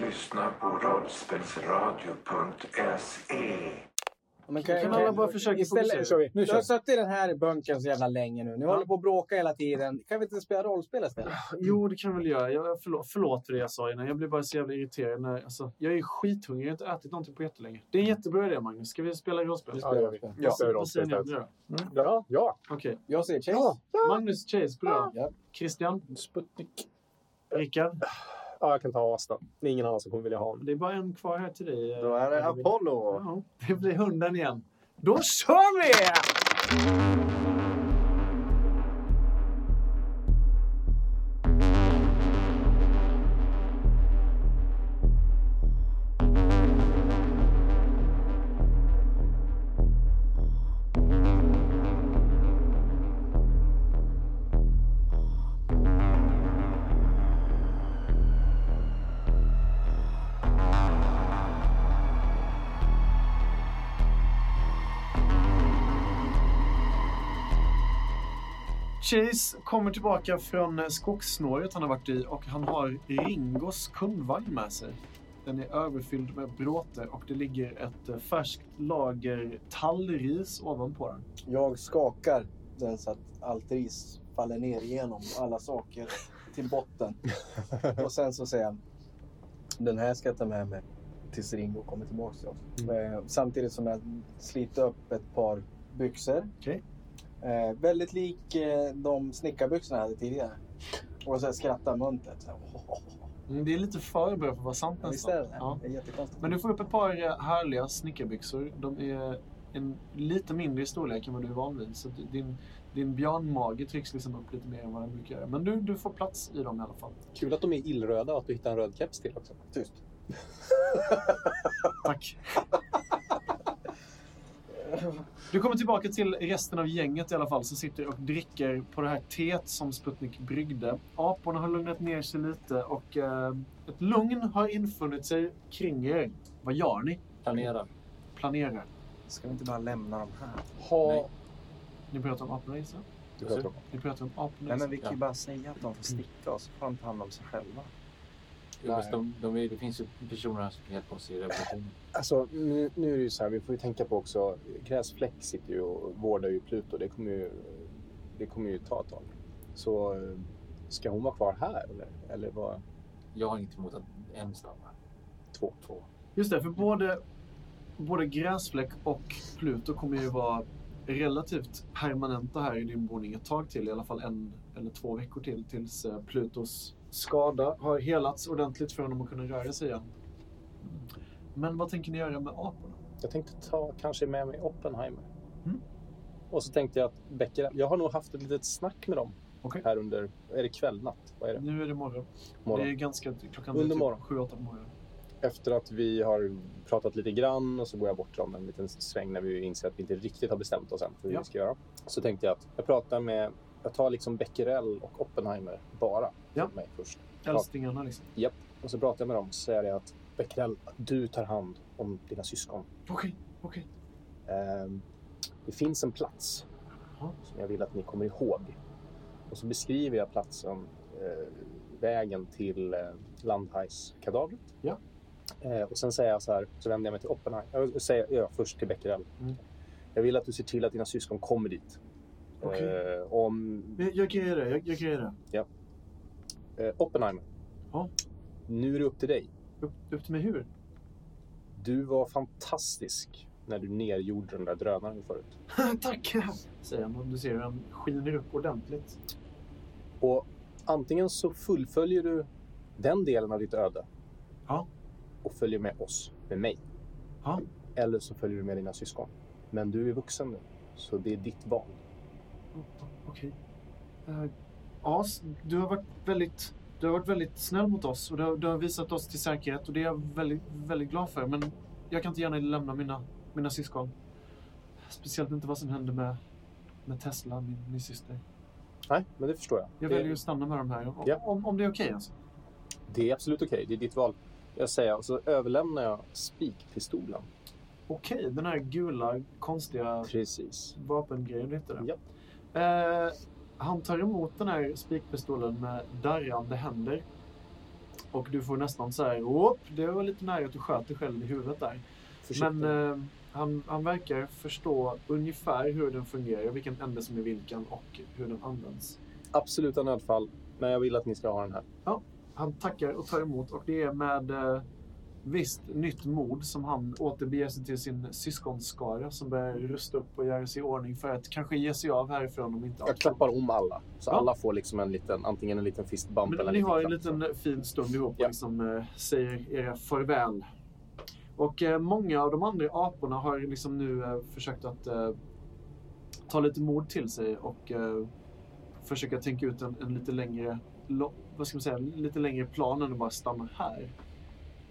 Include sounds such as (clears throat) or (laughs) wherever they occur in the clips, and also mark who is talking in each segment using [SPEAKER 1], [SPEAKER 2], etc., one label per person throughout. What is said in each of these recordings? [SPEAKER 1] lyssnar på
[SPEAKER 2] E.
[SPEAKER 1] rollspelsradio.se.
[SPEAKER 3] Men kan,
[SPEAKER 4] Kan
[SPEAKER 3] kan
[SPEAKER 4] alla bara
[SPEAKER 3] försöka
[SPEAKER 4] försöka
[SPEAKER 3] Istället
[SPEAKER 4] fokusera?
[SPEAKER 3] kör vi.
[SPEAKER 4] Nu
[SPEAKER 3] Nu
[SPEAKER 4] kör
[SPEAKER 3] Jag har
[SPEAKER 4] vi.
[SPEAKER 3] suttit i den här bunkern så jävla länge nu. Ni håller på att bråka hela tiden. Kan vi inte spela rollspel istället?
[SPEAKER 5] Mm.
[SPEAKER 4] Jo, det kan jag väl göra. Jag, förlåt, förlåt för det jag sa innan. Jag blir bara så jävla irriterad. När, alltså, jag är skithungrig. Jag har inte ätit någonting på jättelänge. Det är en jättebra idé, Magnus. Ska vi spela rollspel?
[SPEAKER 6] Ja, det gör vi.
[SPEAKER 3] Ja.
[SPEAKER 6] Ja.
[SPEAKER 4] Vad- Vad säger ni andra då?
[SPEAKER 6] Ja. ja.
[SPEAKER 4] Okej.
[SPEAKER 3] Jag säger Chase.
[SPEAKER 4] Magnus, Chase, bra.
[SPEAKER 3] Ja.
[SPEAKER 4] Christian,
[SPEAKER 6] Sputnik.
[SPEAKER 4] Rickard.
[SPEAKER 6] Ja, jag kan ta Asta. Det är ingen annan som kommer vilja ha honom.
[SPEAKER 4] Det är bara en kvar här till dig.
[SPEAKER 5] Då är det Apollo.
[SPEAKER 4] Ja, det blir hunden igen. Då kör vi! Chase kommer tillbaka från eh, skogssnåret han har varit i och han har Ringos kundvagn med sig. Den är överfylld med bråte och det ligger ett eh, färskt lager tallris ovanpå den.
[SPEAKER 3] Jag skakar den så att allt ris faller ner igenom alla saker till botten. Och sen så säger han. Den här ska jag ta med mig tills Ringo kommer tillbaka till oss.
[SPEAKER 5] Mm.
[SPEAKER 3] Eh, Samtidigt som jag sliter upp ett par byxor.
[SPEAKER 4] Okej.
[SPEAKER 3] Eh, väldigt lik eh, de snickarbyxorna jag hade tidigare. Och så här skrattar muntert. Så här, "Åh, åh, åh."
[SPEAKER 4] Mm, Det är lite för bra för att vara sant
[SPEAKER 3] Ja, Visst
[SPEAKER 4] nästan.
[SPEAKER 3] är det det?
[SPEAKER 4] Ja.
[SPEAKER 3] Det är jättekonstigt.
[SPEAKER 4] Men du får upp ett par eh, härliga snickarbyxor. De är en lite mindre i storlek än vad du är van vid. Så att din, din björnmage trycks liksom upp lite mer än vad den brukar göra. Men du, du får plats i dem i alla fall.
[SPEAKER 7] Kul att de är illröda och att du hittar en röd keps till också.
[SPEAKER 3] Tyst.
[SPEAKER 4] Tack. Du kommer tillbaka till resten av gänget i alla fall som sitter och dricker på det här teet som Sputnik bryggde. Aporna har lugnat ner sig lite och eh, ett lugn har infunnit sig kring er. Vad gör ni?
[SPEAKER 7] Planera.
[SPEAKER 4] Planerar.
[SPEAKER 5] Ska vi inte bara lämna dem här?
[SPEAKER 7] Ha...
[SPEAKER 4] Ni pratar om aporna gissar jag?
[SPEAKER 6] Du pratar om.
[SPEAKER 4] Ni pratar om aporna
[SPEAKER 5] Nej,
[SPEAKER 4] gissar
[SPEAKER 5] men
[SPEAKER 4] jag?
[SPEAKER 5] vi kan ju bara säga att de får sticka och så får de ta hand om sig själva.
[SPEAKER 7] Jo, visst, de, de är, det finns ju personer här som kan hjälpa oss i reparationen.
[SPEAKER 6] Alltså, nu, nu är det ju så här, vi får ju tänka på också. Gräsfläck sitter ju och vårdar ju Pluto. Det kommer ju, det kommer ju ta ett tag. Så eh, ska hon vara kvar här eller? Eller vad?
[SPEAKER 7] Jag har inget emot att en stannar.
[SPEAKER 6] Två.
[SPEAKER 7] Två.
[SPEAKER 4] Just det, för både, både Gräsfläck och Pluto kommer ju vara relativt permanenta här i din boning ett tag till, i alla fall en eller två veckor till, tills eh, Plutos skada har helats ordentligt för honom att kunna röra sig igen. Men vad tänker ni göra med aporna?
[SPEAKER 6] Jag tänkte ta kanske med mig Oppenheimer.
[SPEAKER 4] Mm.
[SPEAKER 6] Och så tänkte jag att Becker, jag har nog haft ett litet snack med dem
[SPEAKER 4] Okej.
[SPEAKER 6] här under, är det kväll, natt? Vad är det?
[SPEAKER 4] Nu är det morgon.
[SPEAKER 6] Morgon.
[SPEAKER 4] Det är ganska, klockan
[SPEAKER 6] Under
[SPEAKER 4] är
[SPEAKER 6] morgon.
[SPEAKER 4] typ sju, åtta på morgonen.
[SPEAKER 6] Efter att vi har pratat lite grann och så går jag bort om en liten sväng när vi inser att vi inte riktigt har bestämt oss än för hur
[SPEAKER 4] Ja.
[SPEAKER 6] vi ska göra. Så tänkte jag att jag pratar med, jag tar liksom Becquerel och Oppenheimer bara
[SPEAKER 4] Ja.
[SPEAKER 6] till mig först.
[SPEAKER 4] Älstingarna liksom.
[SPEAKER 6] Och så pratar jag med dem och säger jag att Becquerel, du tar hand om dina syskon.
[SPEAKER 4] Okej, okej.
[SPEAKER 6] Ehm, det finns en plats
[SPEAKER 4] Ja.
[SPEAKER 6] som jag vill att ni kommer ihåg. Och så beskriver jag platsen, eh, vägen till eh, Landhajskadavret.
[SPEAKER 4] Ja.
[SPEAKER 6] Eh, och sen säger jag så här, så vänder jag mig till Oppenheimer. Jag säger ja, först till Becquerel.
[SPEAKER 4] Mm.
[SPEAKER 6] Jag vill att du ser till att dina syskon kommer dit.
[SPEAKER 4] Okej.
[SPEAKER 6] Eh, om
[SPEAKER 4] Men Jag grejer det, jag, jag grejer det.
[SPEAKER 6] eh, Oppenheimer.
[SPEAKER 4] Ja.
[SPEAKER 6] Nu är det upp till dig.
[SPEAKER 4] Upp, upp till mig hur? (laughs)
[SPEAKER 6] Du var fantastisk när du nergjorde den där drönaren förut.
[SPEAKER 4] Tack! Säger han och du ser hur han skiner upp ordentligt.
[SPEAKER 6] Och antingen så fullföljer du den delen av ditt öde.
[SPEAKER 4] Ja.
[SPEAKER 6] Och följer med oss, med mig.
[SPEAKER 4] Ja.
[SPEAKER 6] Eller så följer du med dina syskon. Men du är vuxen nu, så det är ditt val.
[SPEAKER 4] Okej. Eh, As, du har varit väldigt... Du har varit väldigt snäll mot oss och du har, du har visat oss till säkerhet och det är jag väldigt, väldigt glad för. Men jag kan inte gärna lämna mina, mina syskon. Speciellt inte vad som hände med, med Tesla, min, min syster.
[SPEAKER 6] Nej, men det förstår jag.
[SPEAKER 4] Jag
[SPEAKER 6] det,
[SPEAKER 4] väljer att stanna med dem här. Om,
[SPEAKER 6] Ja.
[SPEAKER 4] om, om det är okej alltså.
[SPEAKER 6] det är absolut okej, det är ditt val. Jag säger, och så överlämnar jag spikpistolen.
[SPEAKER 4] Okej, den här gula konstiga
[SPEAKER 6] Precis.
[SPEAKER 4] vapengrejen du hittade.
[SPEAKER 6] Ja.
[SPEAKER 4] Eh, han tar emot den här spikpistolen med darrande händer. Och du får nästan så här, Åp, det var lite nära att du sköt dig själv i huvudet där.
[SPEAKER 6] Försiktigt.
[SPEAKER 4] Men eh, han, han verkar förstå ungefär hur den fungerar, vilken ände som är vilken och hur den används.
[SPEAKER 6] Absoluta nödfall. Men jag vill att ni ska ha den här.
[SPEAKER 4] Han tackar och tar emot och det är med eh, visst nytt mod som han återbeger sig till sin syskonskara som börjar rusta upp och göra sig i ordning för att kanske ge sig av härifrån om inte
[SPEAKER 6] Jag klappar om alla. Så
[SPEAKER 4] Ja.
[SPEAKER 6] alla får liksom en liten, antingen en liten fistbump eller
[SPEAKER 4] Men
[SPEAKER 6] en
[SPEAKER 4] ni
[SPEAKER 6] liten
[SPEAKER 4] har en
[SPEAKER 6] klapp.
[SPEAKER 4] liten fin stund ihop och
[SPEAKER 6] Ja.
[SPEAKER 4] liksom, eh, säger era farväl. Och eh, många av de andra aporna har liksom nu eh, försökt att eh, ta lite mod till sig och eh, försöka tänka ut en, en lite längre lo- vad ska man säga, lite längre plan än att bara stanna här.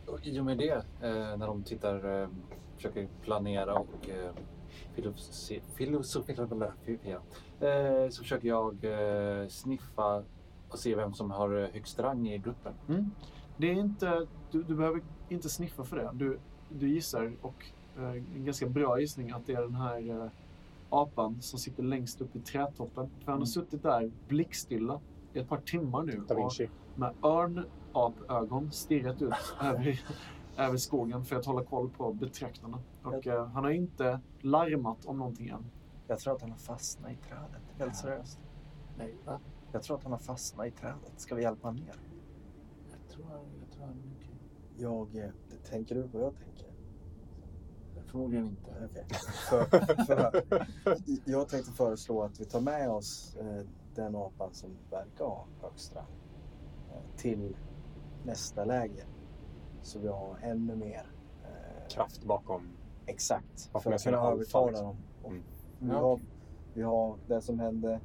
[SPEAKER 7] Och I och med det, eh, när de tittar, eh, försöker planera och eh, filosofi- filosofera, ja, eh, så försöker jag eh, sniffa och se vem som har eh, högst rang i gruppen.
[SPEAKER 4] Det är inte, du, du behöver inte sniffa för det. Du, du gissar och eh, en ganska bra gissning att det är den här eh, apan som sitter längst upp i trädtoppen. För han har suttit där blickstilla i ett par timmar nu
[SPEAKER 6] Mm. Da
[SPEAKER 4] och
[SPEAKER 6] Vinci.
[SPEAKER 4] med örnapögon stirrat
[SPEAKER 6] (laughs)
[SPEAKER 4] ut över, över skogen för att hålla koll på betraktarna. Och eh, han har inte larmat om någonting än.
[SPEAKER 5] Jag tror att han har fastnat i trädet. Helt seriöst.
[SPEAKER 7] Nej, va?
[SPEAKER 5] Jag tror att han har fastnat i trädet. Ska vi hjälpa honom ner?
[SPEAKER 7] Jag tror, jag tror han okej.
[SPEAKER 3] Jag, eh, tänker du vad jag tänker? Eh,
[SPEAKER 7] Förmodligen inte.
[SPEAKER 3] Okej. För, för, jag tänkte föreslå att vi tar med oss eh, den apan som verkar ha högst rang eh, till nästa läger. Så vi har ännu mer eh,
[SPEAKER 6] Kraft bakom.
[SPEAKER 3] Exakt.
[SPEAKER 6] Ja,
[SPEAKER 3] För
[SPEAKER 6] men
[SPEAKER 3] att
[SPEAKER 6] sen
[SPEAKER 3] kunna
[SPEAKER 6] alfa
[SPEAKER 3] övertala
[SPEAKER 6] liksom.
[SPEAKER 3] dem. Och
[SPEAKER 6] Mm.
[SPEAKER 3] Vi,
[SPEAKER 7] Ja,
[SPEAKER 3] har,
[SPEAKER 7] okej.
[SPEAKER 3] vi har det som hände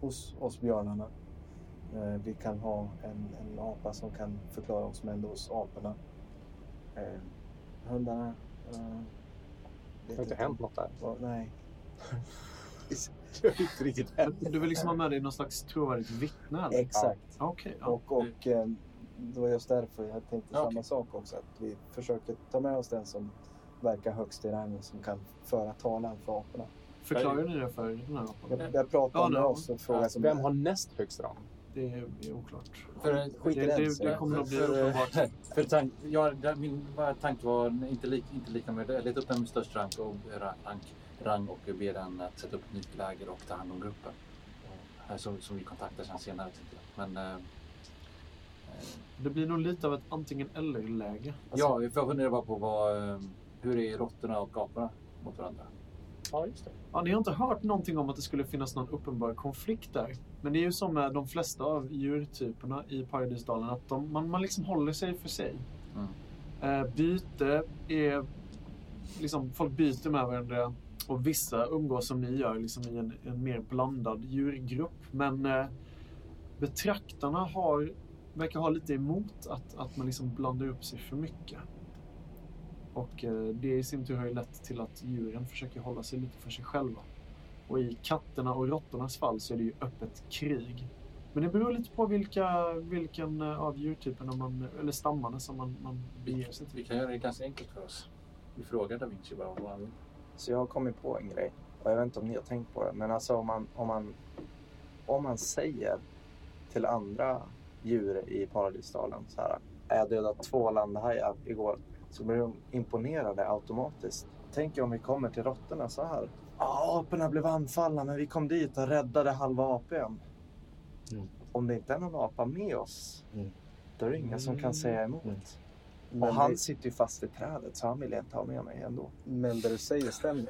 [SPEAKER 3] hos oss björnarna. Eh, vi kan ha en, en apa som kan förklara vad som hände hos aporna. Eh, hundarna... Eh,
[SPEAKER 6] Det
[SPEAKER 3] vet
[SPEAKER 6] har inte hänt något där.
[SPEAKER 3] Vad, nej.
[SPEAKER 6] Det har inte riktigt hänt.
[SPEAKER 4] Du vill liksom ha med dig någon slags trovärdigt vittne?
[SPEAKER 6] Eh.
[SPEAKER 4] eller?
[SPEAKER 3] Exakt.
[SPEAKER 4] Ja, Okej. ja.
[SPEAKER 3] Och, och eh, det var just därför jag tänkte
[SPEAKER 7] Ja,
[SPEAKER 3] samma
[SPEAKER 7] okej.
[SPEAKER 3] sak också. Att vi försöker ta med oss den som verkar högst i rang och som kan föra talan för aporna.
[SPEAKER 4] Förklarar ni det för den här apan?
[SPEAKER 3] Jag, jag pratade
[SPEAKER 4] Ja,
[SPEAKER 3] med
[SPEAKER 4] det-
[SPEAKER 3] oss och frågade som
[SPEAKER 6] Vem har näst högst rang?
[SPEAKER 4] Det är det är oklart.
[SPEAKER 7] För, eh,
[SPEAKER 3] Skit i
[SPEAKER 4] Det,
[SPEAKER 3] den,
[SPEAKER 4] det,
[SPEAKER 3] säger
[SPEAKER 4] det
[SPEAKER 3] jag.
[SPEAKER 4] kommer nog bli
[SPEAKER 7] För- eh, (laughs)
[SPEAKER 4] uppenbart.
[SPEAKER 7] För tank, ja, där- min var- tanke var inte, lik, inte lika med det. Jag letade upp den med störst rank och, eh, ra- rank, rang och ber den att sätta upp ett nytt läger och ta hand om gruppen. Eh, Som, som vi kontaktar sen senare. tänkte jag. Men eh,
[SPEAKER 4] Det blir nog lite av ett antingen eller-läge.
[SPEAKER 7] ja, för jag funderar bara på vad, eh, hur är råttorna och aporna mot varandra?
[SPEAKER 6] Ja, just det.
[SPEAKER 4] Ja, ni har inte hört någonting om att det skulle finnas någon uppenbar konflikt där. Men det är ju som med de flesta av djurtyperna i Paradisdalen att de, man, man liksom håller sig för sig. Eh, byte är... Liksom, folk byter med varandra och vissa umgås som ni gör liksom i en, en mer blandad djurgrupp. Men eh, betraktarna har, verkar ha lite emot att, att man liksom blandar upp sig för mycket. Och eh, det i sin tur har ju lett till att djuren försöker hålla sig lite för sig själva. Och i katterna och råttornas fall så är det ju öppet krig. Men det beror lite på vilka, vilken eh, av djurtyperna man, eller stammarna som man, man beger sig till.
[SPEAKER 7] Vi kan göra det ganska enkelt för oss. Vi frågar Da Vinci bara vad han vill.
[SPEAKER 5] Så jag har kommit på en grej. Och jag vet inte om ni har tänkt på det. Men alltså om man, om man, om man säger till andra djur i paradisdalen så här. "Äh, Jag dödade två landhajar igår. Så blir de imponerade automatiskt. Tänk er om vi kommer till råttorna så här. Ja, aporna blev anfallna men vi kom dit och räddade halva apön.
[SPEAKER 3] Mm.
[SPEAKER 5] Om det inte är någon apa med oss.
[SPEAKER 3] Mm.
[SPEAKER 5] Då är det ingen som kan säga emot.
[SPEAKER 3] Mm.
[SPEAKER 5] och
[SPEAKER 3] Men,
[SPEAKER 5] han sitter ju fast i trädet så han vill inte ha med mig ändå.
[SPEAKER 3] det, men det du säger stämmer ju.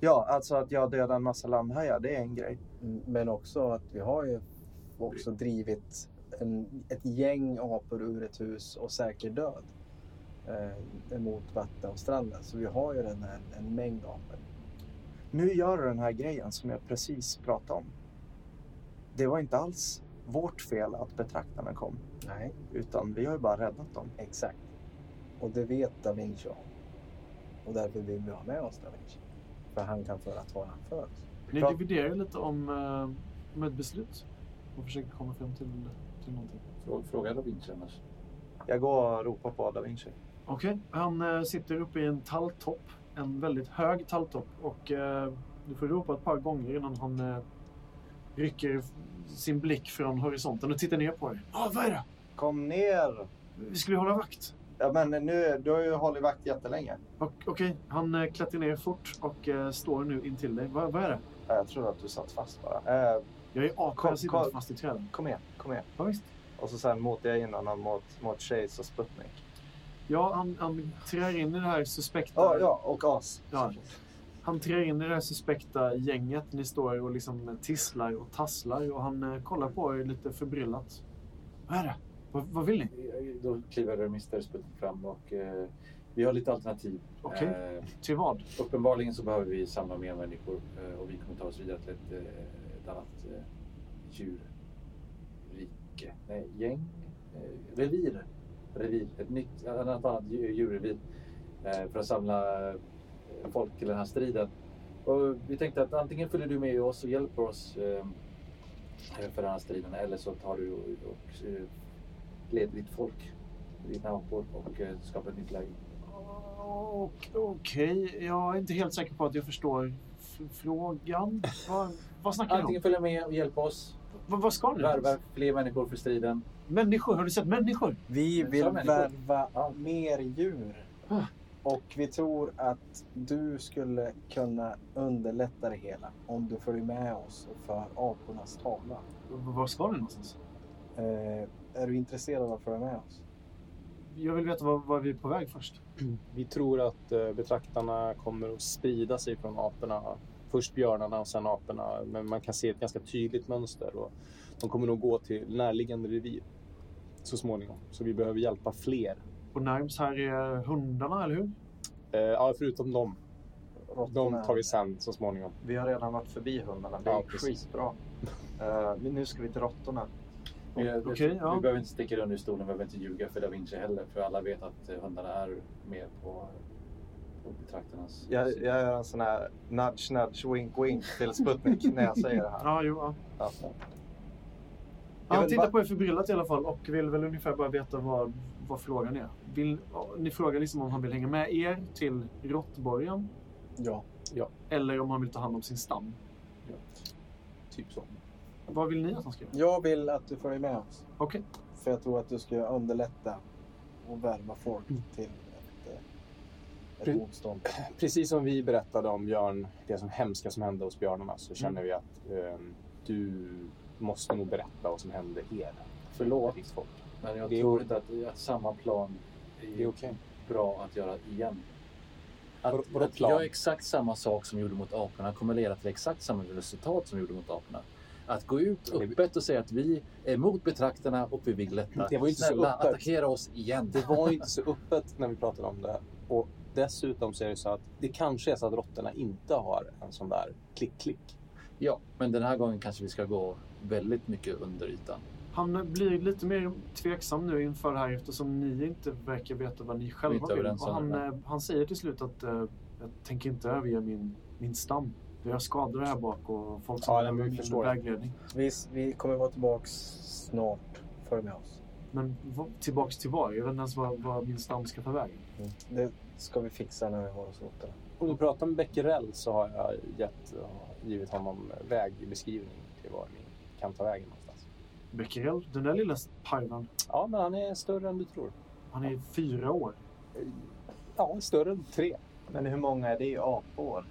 [SPEAKER 5] Ja, alltså att jag dödar en massa landhajar, det är en grej.
[SPEAKER 3] Mm, Men också att vi har ju också drivit en, ett gäng apor ur ett hus och säker död eh, emot vatten och stranden. Så vi har ju den här, en mängd apor.
[SPEAKER 5] Nu gör du den här grejen som jag precis pratade om. Det var inte alls vårt fel att betraktarna kom,
[SPEAKER 3] Nej.
[SPEAKER 5] utan vi har ju bara räddat dem.
[SPEAKER 3] Exakt. Och det vet Da Vinci om. Och därför vill vi ha med oss Da Vinci. För han kan föra talan för oss.
[SPEAKER 4] Ni
[SPEAKER 5] Bra.
[SPEAKER 4] dividerar lite om, eh, om ett beslut och försöker komma fram till, till någonting.
[SPEAKER 7] Frå- Fråga Da Vinci annars.
[SPEAKER 5] Jag går och ropar på Da Vinci.
[SPEAKER 4] Okej, han eh, sitter uppe i en talltopp. En väldigt hög talltopp. Och eh, du får ropa ett par gånger innan han eh, rycker sin blick från horisonten och tittar ner på dig. Ja, vad är det?
[SPEAKER 5] Kom ner!
[SPEAKER 4] Vi skulle hålla vakt.
[SPEAKER 5] Ja, men nu, du har ju hållit vakt jättelänge.
[SPEAKER 4] Och- Okej, han eh, klättrar ner fort och eh, står nu intill dig. Vad, vad är det?
[SPEAKER 5] Ja, Jag tror att du satt fast bara. Eh,
[SPEAKER 4] Jag är apa,
[SPEAKER 5] Kom-
[SPEAKER 4] jag sitter inte
[SPEAKER 5] kom.
[SPEAKER 4] fast i träden.
[SPEAKER 5] kom igen, kom igen.
[SPEAKER 4] Ja, visst.
[SPEAKER 5] Och så sen motar jag in honom mot, mot Chase och Sputnik.
[SPEAKER 4] Ja, han, han trär in i det här suspekta...
[SPEAKER 5] Ja, ja, och As.
[SPEAKER 4] Ja. Han trär in i det här suspekta gänget. Ni står och liksom tisslar och tasslar och han eh, kollar på er lite förbryllat. Vad är det? Vad, vad vill ni?
[SPEAKER 7] Då kliver Mr. Sputnik fram och eh, vi har lite alternativ.
[SPEAKER 4] Okej.
[SPEAKER 7] Eh,
[SPEAKER 4] Till vad?
[SPEAKER 7] uppenbarligen så behöver vi samla mer människor eh, och vi kommer ta oss vidare till ett, eh, ett annat eh, djurrike. Nej, gäng? Eh, revir. Revir. Ett nytt, ett annat, annat djur- djurrevir eh, för att samla eh, folk till den här striden. Och vi tänkte att antingen följer du med oss och hjälper oss eh, för den här striden eller så tar du och, och eh, leder ditt folk, dina apor och eh, skapar ett nytt läger.
[SPEAKER 4] Och- Okej, jag är inte helt säker på att jag förstår f- frågan. Vad, vad snackar ni om?
[SPEAKER 7] Antingen följa med och hjälpa oss
[SPEAKER 4] Vad, vad ska ni?
[SPEAKER 7] Värva fler människor för striden.
[SPEAKER 4] Människor, har du sett människor?
[SPEAKER 3] Vi
[SPEAKER 7] Men
[SPEAKER 3] vill
[SPEAKER 7] så människor.
[SPEAKER 3] värva
[SPEAKER 7] Ja.
[SPEAKER 3] mer djur.
[SPEAKER 4] Ah.
[SPEAKER 3] Och vi tror att du skulle kunna underlätta det hela om du följer med oss och för apornas talan.
[SPEAKER 4] V- Var ska ni någonstans?
[SPEAKER 3] Eh, är du intresserad av att följa med oss?
[SPEAKER 4] Jag vill veta var, var vi är på väg först.
[SPEAKER 6] Vi tror att eh, betraktarna kommer att sprida sig från aporna. Först björnarna och sen aporna. Men man kan se ett ganska tydligt mönster. Och de kommer nog gå till närliggande revir så småningom. Så vi behöver hjälpa fler.
[SPEAKER 4] Och närmst här är hundarna, eller hur?
[SPEAKER 6] Eh, ja, förutom dem.
[SPEAKER 3] Råttorna.
[SPEAKER 6] De tar vi sen så småningom.
[SPEAKER 5] Vi har redan varit förbi hundarna. Det
[SPEAKER 6] Ja,
[SPEAKER 5] gick
[SPEAKER 6] precis.
[SPEAKER 5] skitbra. Eh, vi- nu ska vi till råttorna.
[SPEAKER 7] Vi,
[SPEAKER 4] Okej, ja.
[SPEAKER 7] vi behöver inte sticka under stolen, vi behöver inte ljuga för Da Vinci heller. För alla vet att eh, hundarna är med på, på betraktarnas
[SPEAKER 5] Jag,
[SPEAKER 7] sida.
[SPEAKER 5] jag gör en sån här nudge, nudge, wink, wink till Sputnik när jag säger det här.
[SPEAKER 4] Ja, jo. Ja.
[SPEAKER 5] Ja. Jag
[SPEAKER 4] Han
[SPEAKER 5] vill
[SPEAKER 4] tittar
[SPEAKER 5] bara-
[SPEAKER 4] på er förbryllat i alla fall och vill väl ungefär bara veta vad, vad frågan är. Vill, ni frågar liksom om han vill hänga med er till råttborgen
[SPEAKER 3] Ja.
[SPEAKER 4] eller om han vill ta hand om sin stam.
[SPEAKER 6] Typ så.
[SPEAKER 4] Vad vill ni att han ska göra?
[SPEAKER 3] Jag vill att du följer med oss.
[SPEAKER 4] Okej.
[SPEAKER 3] För jag tror att du skulle underlätta och värva folk
[SPEAKER 4] Mm.
[SPEAKER 3] till ett, eh, ett
[SPEAKER 6] Pre-
[SPEAKER 3] motstånd.
[SPEAKER 6] Precis som vi berättade om Björn, det som hemska som hände hos björnarna så känner vi att eh, du måste nog berätta vad som hände er.
[SPEAKER 7] Förlåt,
[SPEAKER 6] ditt folk.
[SPEAKER 7] men jag
[SPEAKER 6] Det är-
[SPEAKER 7] tror inte att, att samma plan
[SPEAKER 6] Det är
[SPEAKER 7] är
[SPEAKER 6] okej.
[SPEAKER 7] bra att göra igen.
[SPEAKER 6] Vadå-
[SPEAKER 7] Att,
[SPEAKER 6] vadå
[SPEAKER 7] att
[SPEAKER 6] plan?
[SPEAKER 7] göra exakt samma sak som gjorde mot aporna kommer leda till exakt samma resultat som gjorde mot aporna. Att gå ut
[SPEAKER 6] Det-
[SPEAKER 7] öppet och säga att vi är emot betraktarna och vi vill lätta.
[SPEAKER 6] Det var ju inte så
[SPEAKER 7] Snälla,
[SPEAKER 6] öppet.
[SPEAKER 7] attackera oss igen.
[SPEAKER 6] Det var ju inte så öppet när vi pratade om det. Och dessutom så är det så att det kanske är så att råttorna inte har en sån där klick-klick.
[SPEAKER 7] Ja, men den här gången kanske vi ska gå väldigt mycket under ytan.
[SPEAKER 4] Han blir lite mer tveksam nu inför det här eftersom ni inte verkar veta vad ni själva
[SPEAKER 7] inte
[SPEAKER 4] vill.
[SPEAKER 7] överens
[SPEAKER 4] Och
[SPEAKER 7] om
[SPEAKER 4] han,
[SPEAKER 7] det,
[SPEAKER 4] eh, han säger till slut att eh, jag tänker inte överge min, min stam. Jag skadar här bak och folk som
[SPEAKER 6] Ja,
[SPEAKER 4] behöver
[SPEAKER 6] men vi
[SPEAKER 4] min
[SPEAKER 6] förstår.
[SPEAKER 4] vägledning.
[SPEAKER 3] Vi, vi kommer vara tillbaks snart. Följ med oss.
[SPEAKER 4] Men vad- tillbaks till var? Jag vet inte ens vad, vad min stam ska ta vägen.
[SPEAKER 3] Det ska vi fixa när vi har oss åt det.
[SPEAKER 6] Om du pratar med Becquerel så har jag gett, givit honom vägbeskrivning till var ni kan ta vägen någonstans.
[SPEAKER 4] Becquerel, den där lilla parven,
[SPEAKER 6] Ja, men han är större än du tror.
[SPEAKER 4] han är fyra år.
[SPEAKER 6] Ja, större än tre.
[SPEAKER 5] Men hur många är det i apår?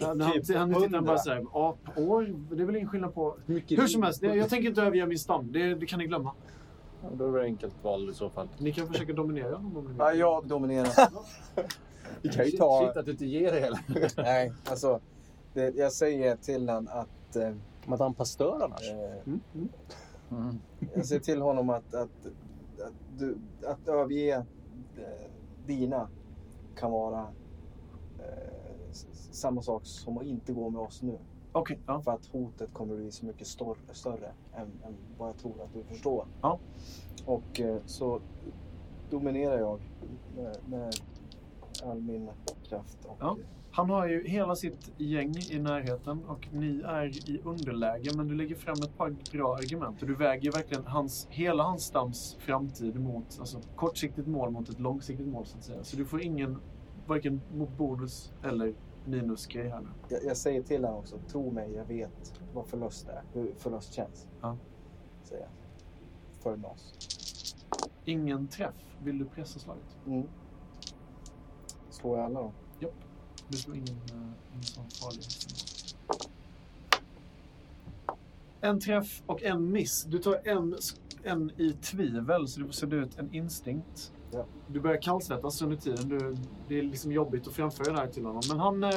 [SPEAKER 4] Han, han,
[SPEAKER 5] Typ
[SPEAKER 4] han tittar
[SPEAKER 5] hundra.
[SPEAKER 4] bara så här, apår, det är väl ingen skillnad på...
[SPEAKER 6] Mycket
[SPEAKER 4] Hur som helst, det- jag tänker inte överge min stam, det, det kan ni glömma.
[SPEAKER 7] Då är det enkelt val i så fall.
[SPEAKER 4] Ni kan försöka dominera honom om ni vill.
[SPEAKER 3] Ja, jag dominerar.
[SPEAKER 6] Vi kan ju ta...
[SPEAKER 7] Shit att du inte ger dig heller.
[SPEAKER 3] (laughs) Nej, alltså. Det, jag säger till honom att... Eh,
[SPEAKER 6] Madame Pasteur annars.
[SPEAKER 3] eh,
[SPEAKER 4] Mm, mm.
[SPEAKER 3] jag säger till honom att, att, att, du, att överge eh, dina kan vara eh, s- s- samma sak som att inte gå med oss nu.
[SPEAKER 4] Okej, ja.
[SPEAKER 3] För att hotet kommer bli så mycket större, större än, än vad jag tror att du förstår.
[SPEAKER 4] Ja.
[SPEAKER 3] Och eh, så dominerar jag med, med all min kraft. Och, eh,
[SPEAKER 4] Ja. Han har ju hela sitt gäng i närheten och ni är i underläge men du lägger fram ett par bra argument och du väger verkligen hans, hela hans stams framtid mot alltså, kortsiktigt mål mot ett långsiktigt mål så att säga. Så du får ingen varken bonus eller minusgrej här nu.
[SPEAKER 3] Jag, jag säger till honom också, tro mig, jag vet vad förlust är, hur förlust känns.
[SPEAKER 4] Ja.
[SPEAKER 3] Säger jag. för NAS.
[SPEAKER 4] Ingen träff. Vill du pressa slaget?
[SPEAKER 3] Mm. Slår jag alla då?
[SPEAKER 4] Du slår ingen, eh, ingen sån farlig. En träff och en miss. Du tar en, sk- en i tvivel, så du får sudda ut en instinkt.
[SPEAKER 3] Ja.
[SPEAKER 4] Du börjar kallsvettas under tiden. Du, det är liksom jobbigt att framföra det här till honom. Men han, eh,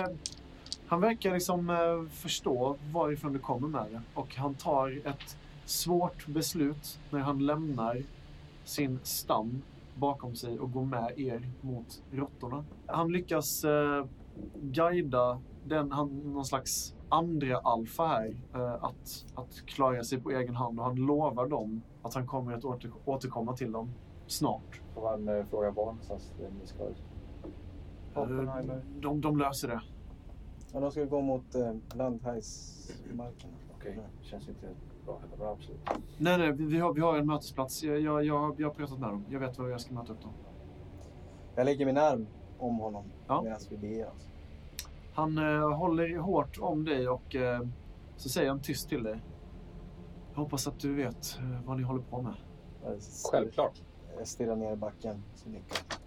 [SPEAKER 4] han verkar liksom eh, förstå varifrån du kommer med det. Och han tar ett svårt beslut när han lämnar sin stam bakom sig och går med er mot råttorna. Han lyckas eh, guida den, han, någon slags andra alfa här eh, att, att klara sig på egen hand och han lovar dem att han kommer att åter, återkomma till dem snart.
[SPEAKER 1] Får man eh, fråga var någonstans eh, ni ska?
[SPEAKER 4] Eh, de, de löser det.
[SPEAKER 3] Ja, de ska vi gå mot eh, Landhajsmarken.
[SPEAKER 1] Okej,
[SPEAKER 3] Nej.
[SPEAKER 1] känns inte bra heller. Men absolut.
[SPEAKER 4] Nej, nej, vi- vi har, vi har en mötesplats. Jag, jag, jag, jag har pratat med dem. Jag vet var jag ska möta upp dem.
[SPEAKER 3] Jag lägger min arm om honom
[SPEAKER 4] Ja.
[SPEAKER 3] medan vi alltså. beger oss.
[SPEAKER 4] Han eh, håller hårt om dig och eh, så säger han tyst till dig. Jag hoppas att du vet eh, vad ni håller på med.
[SPEAKER 3] Jag s-
[SPEAKER 6] Självklart.
[SPEAKER 3] Jag stirrar ner i backen så mycket.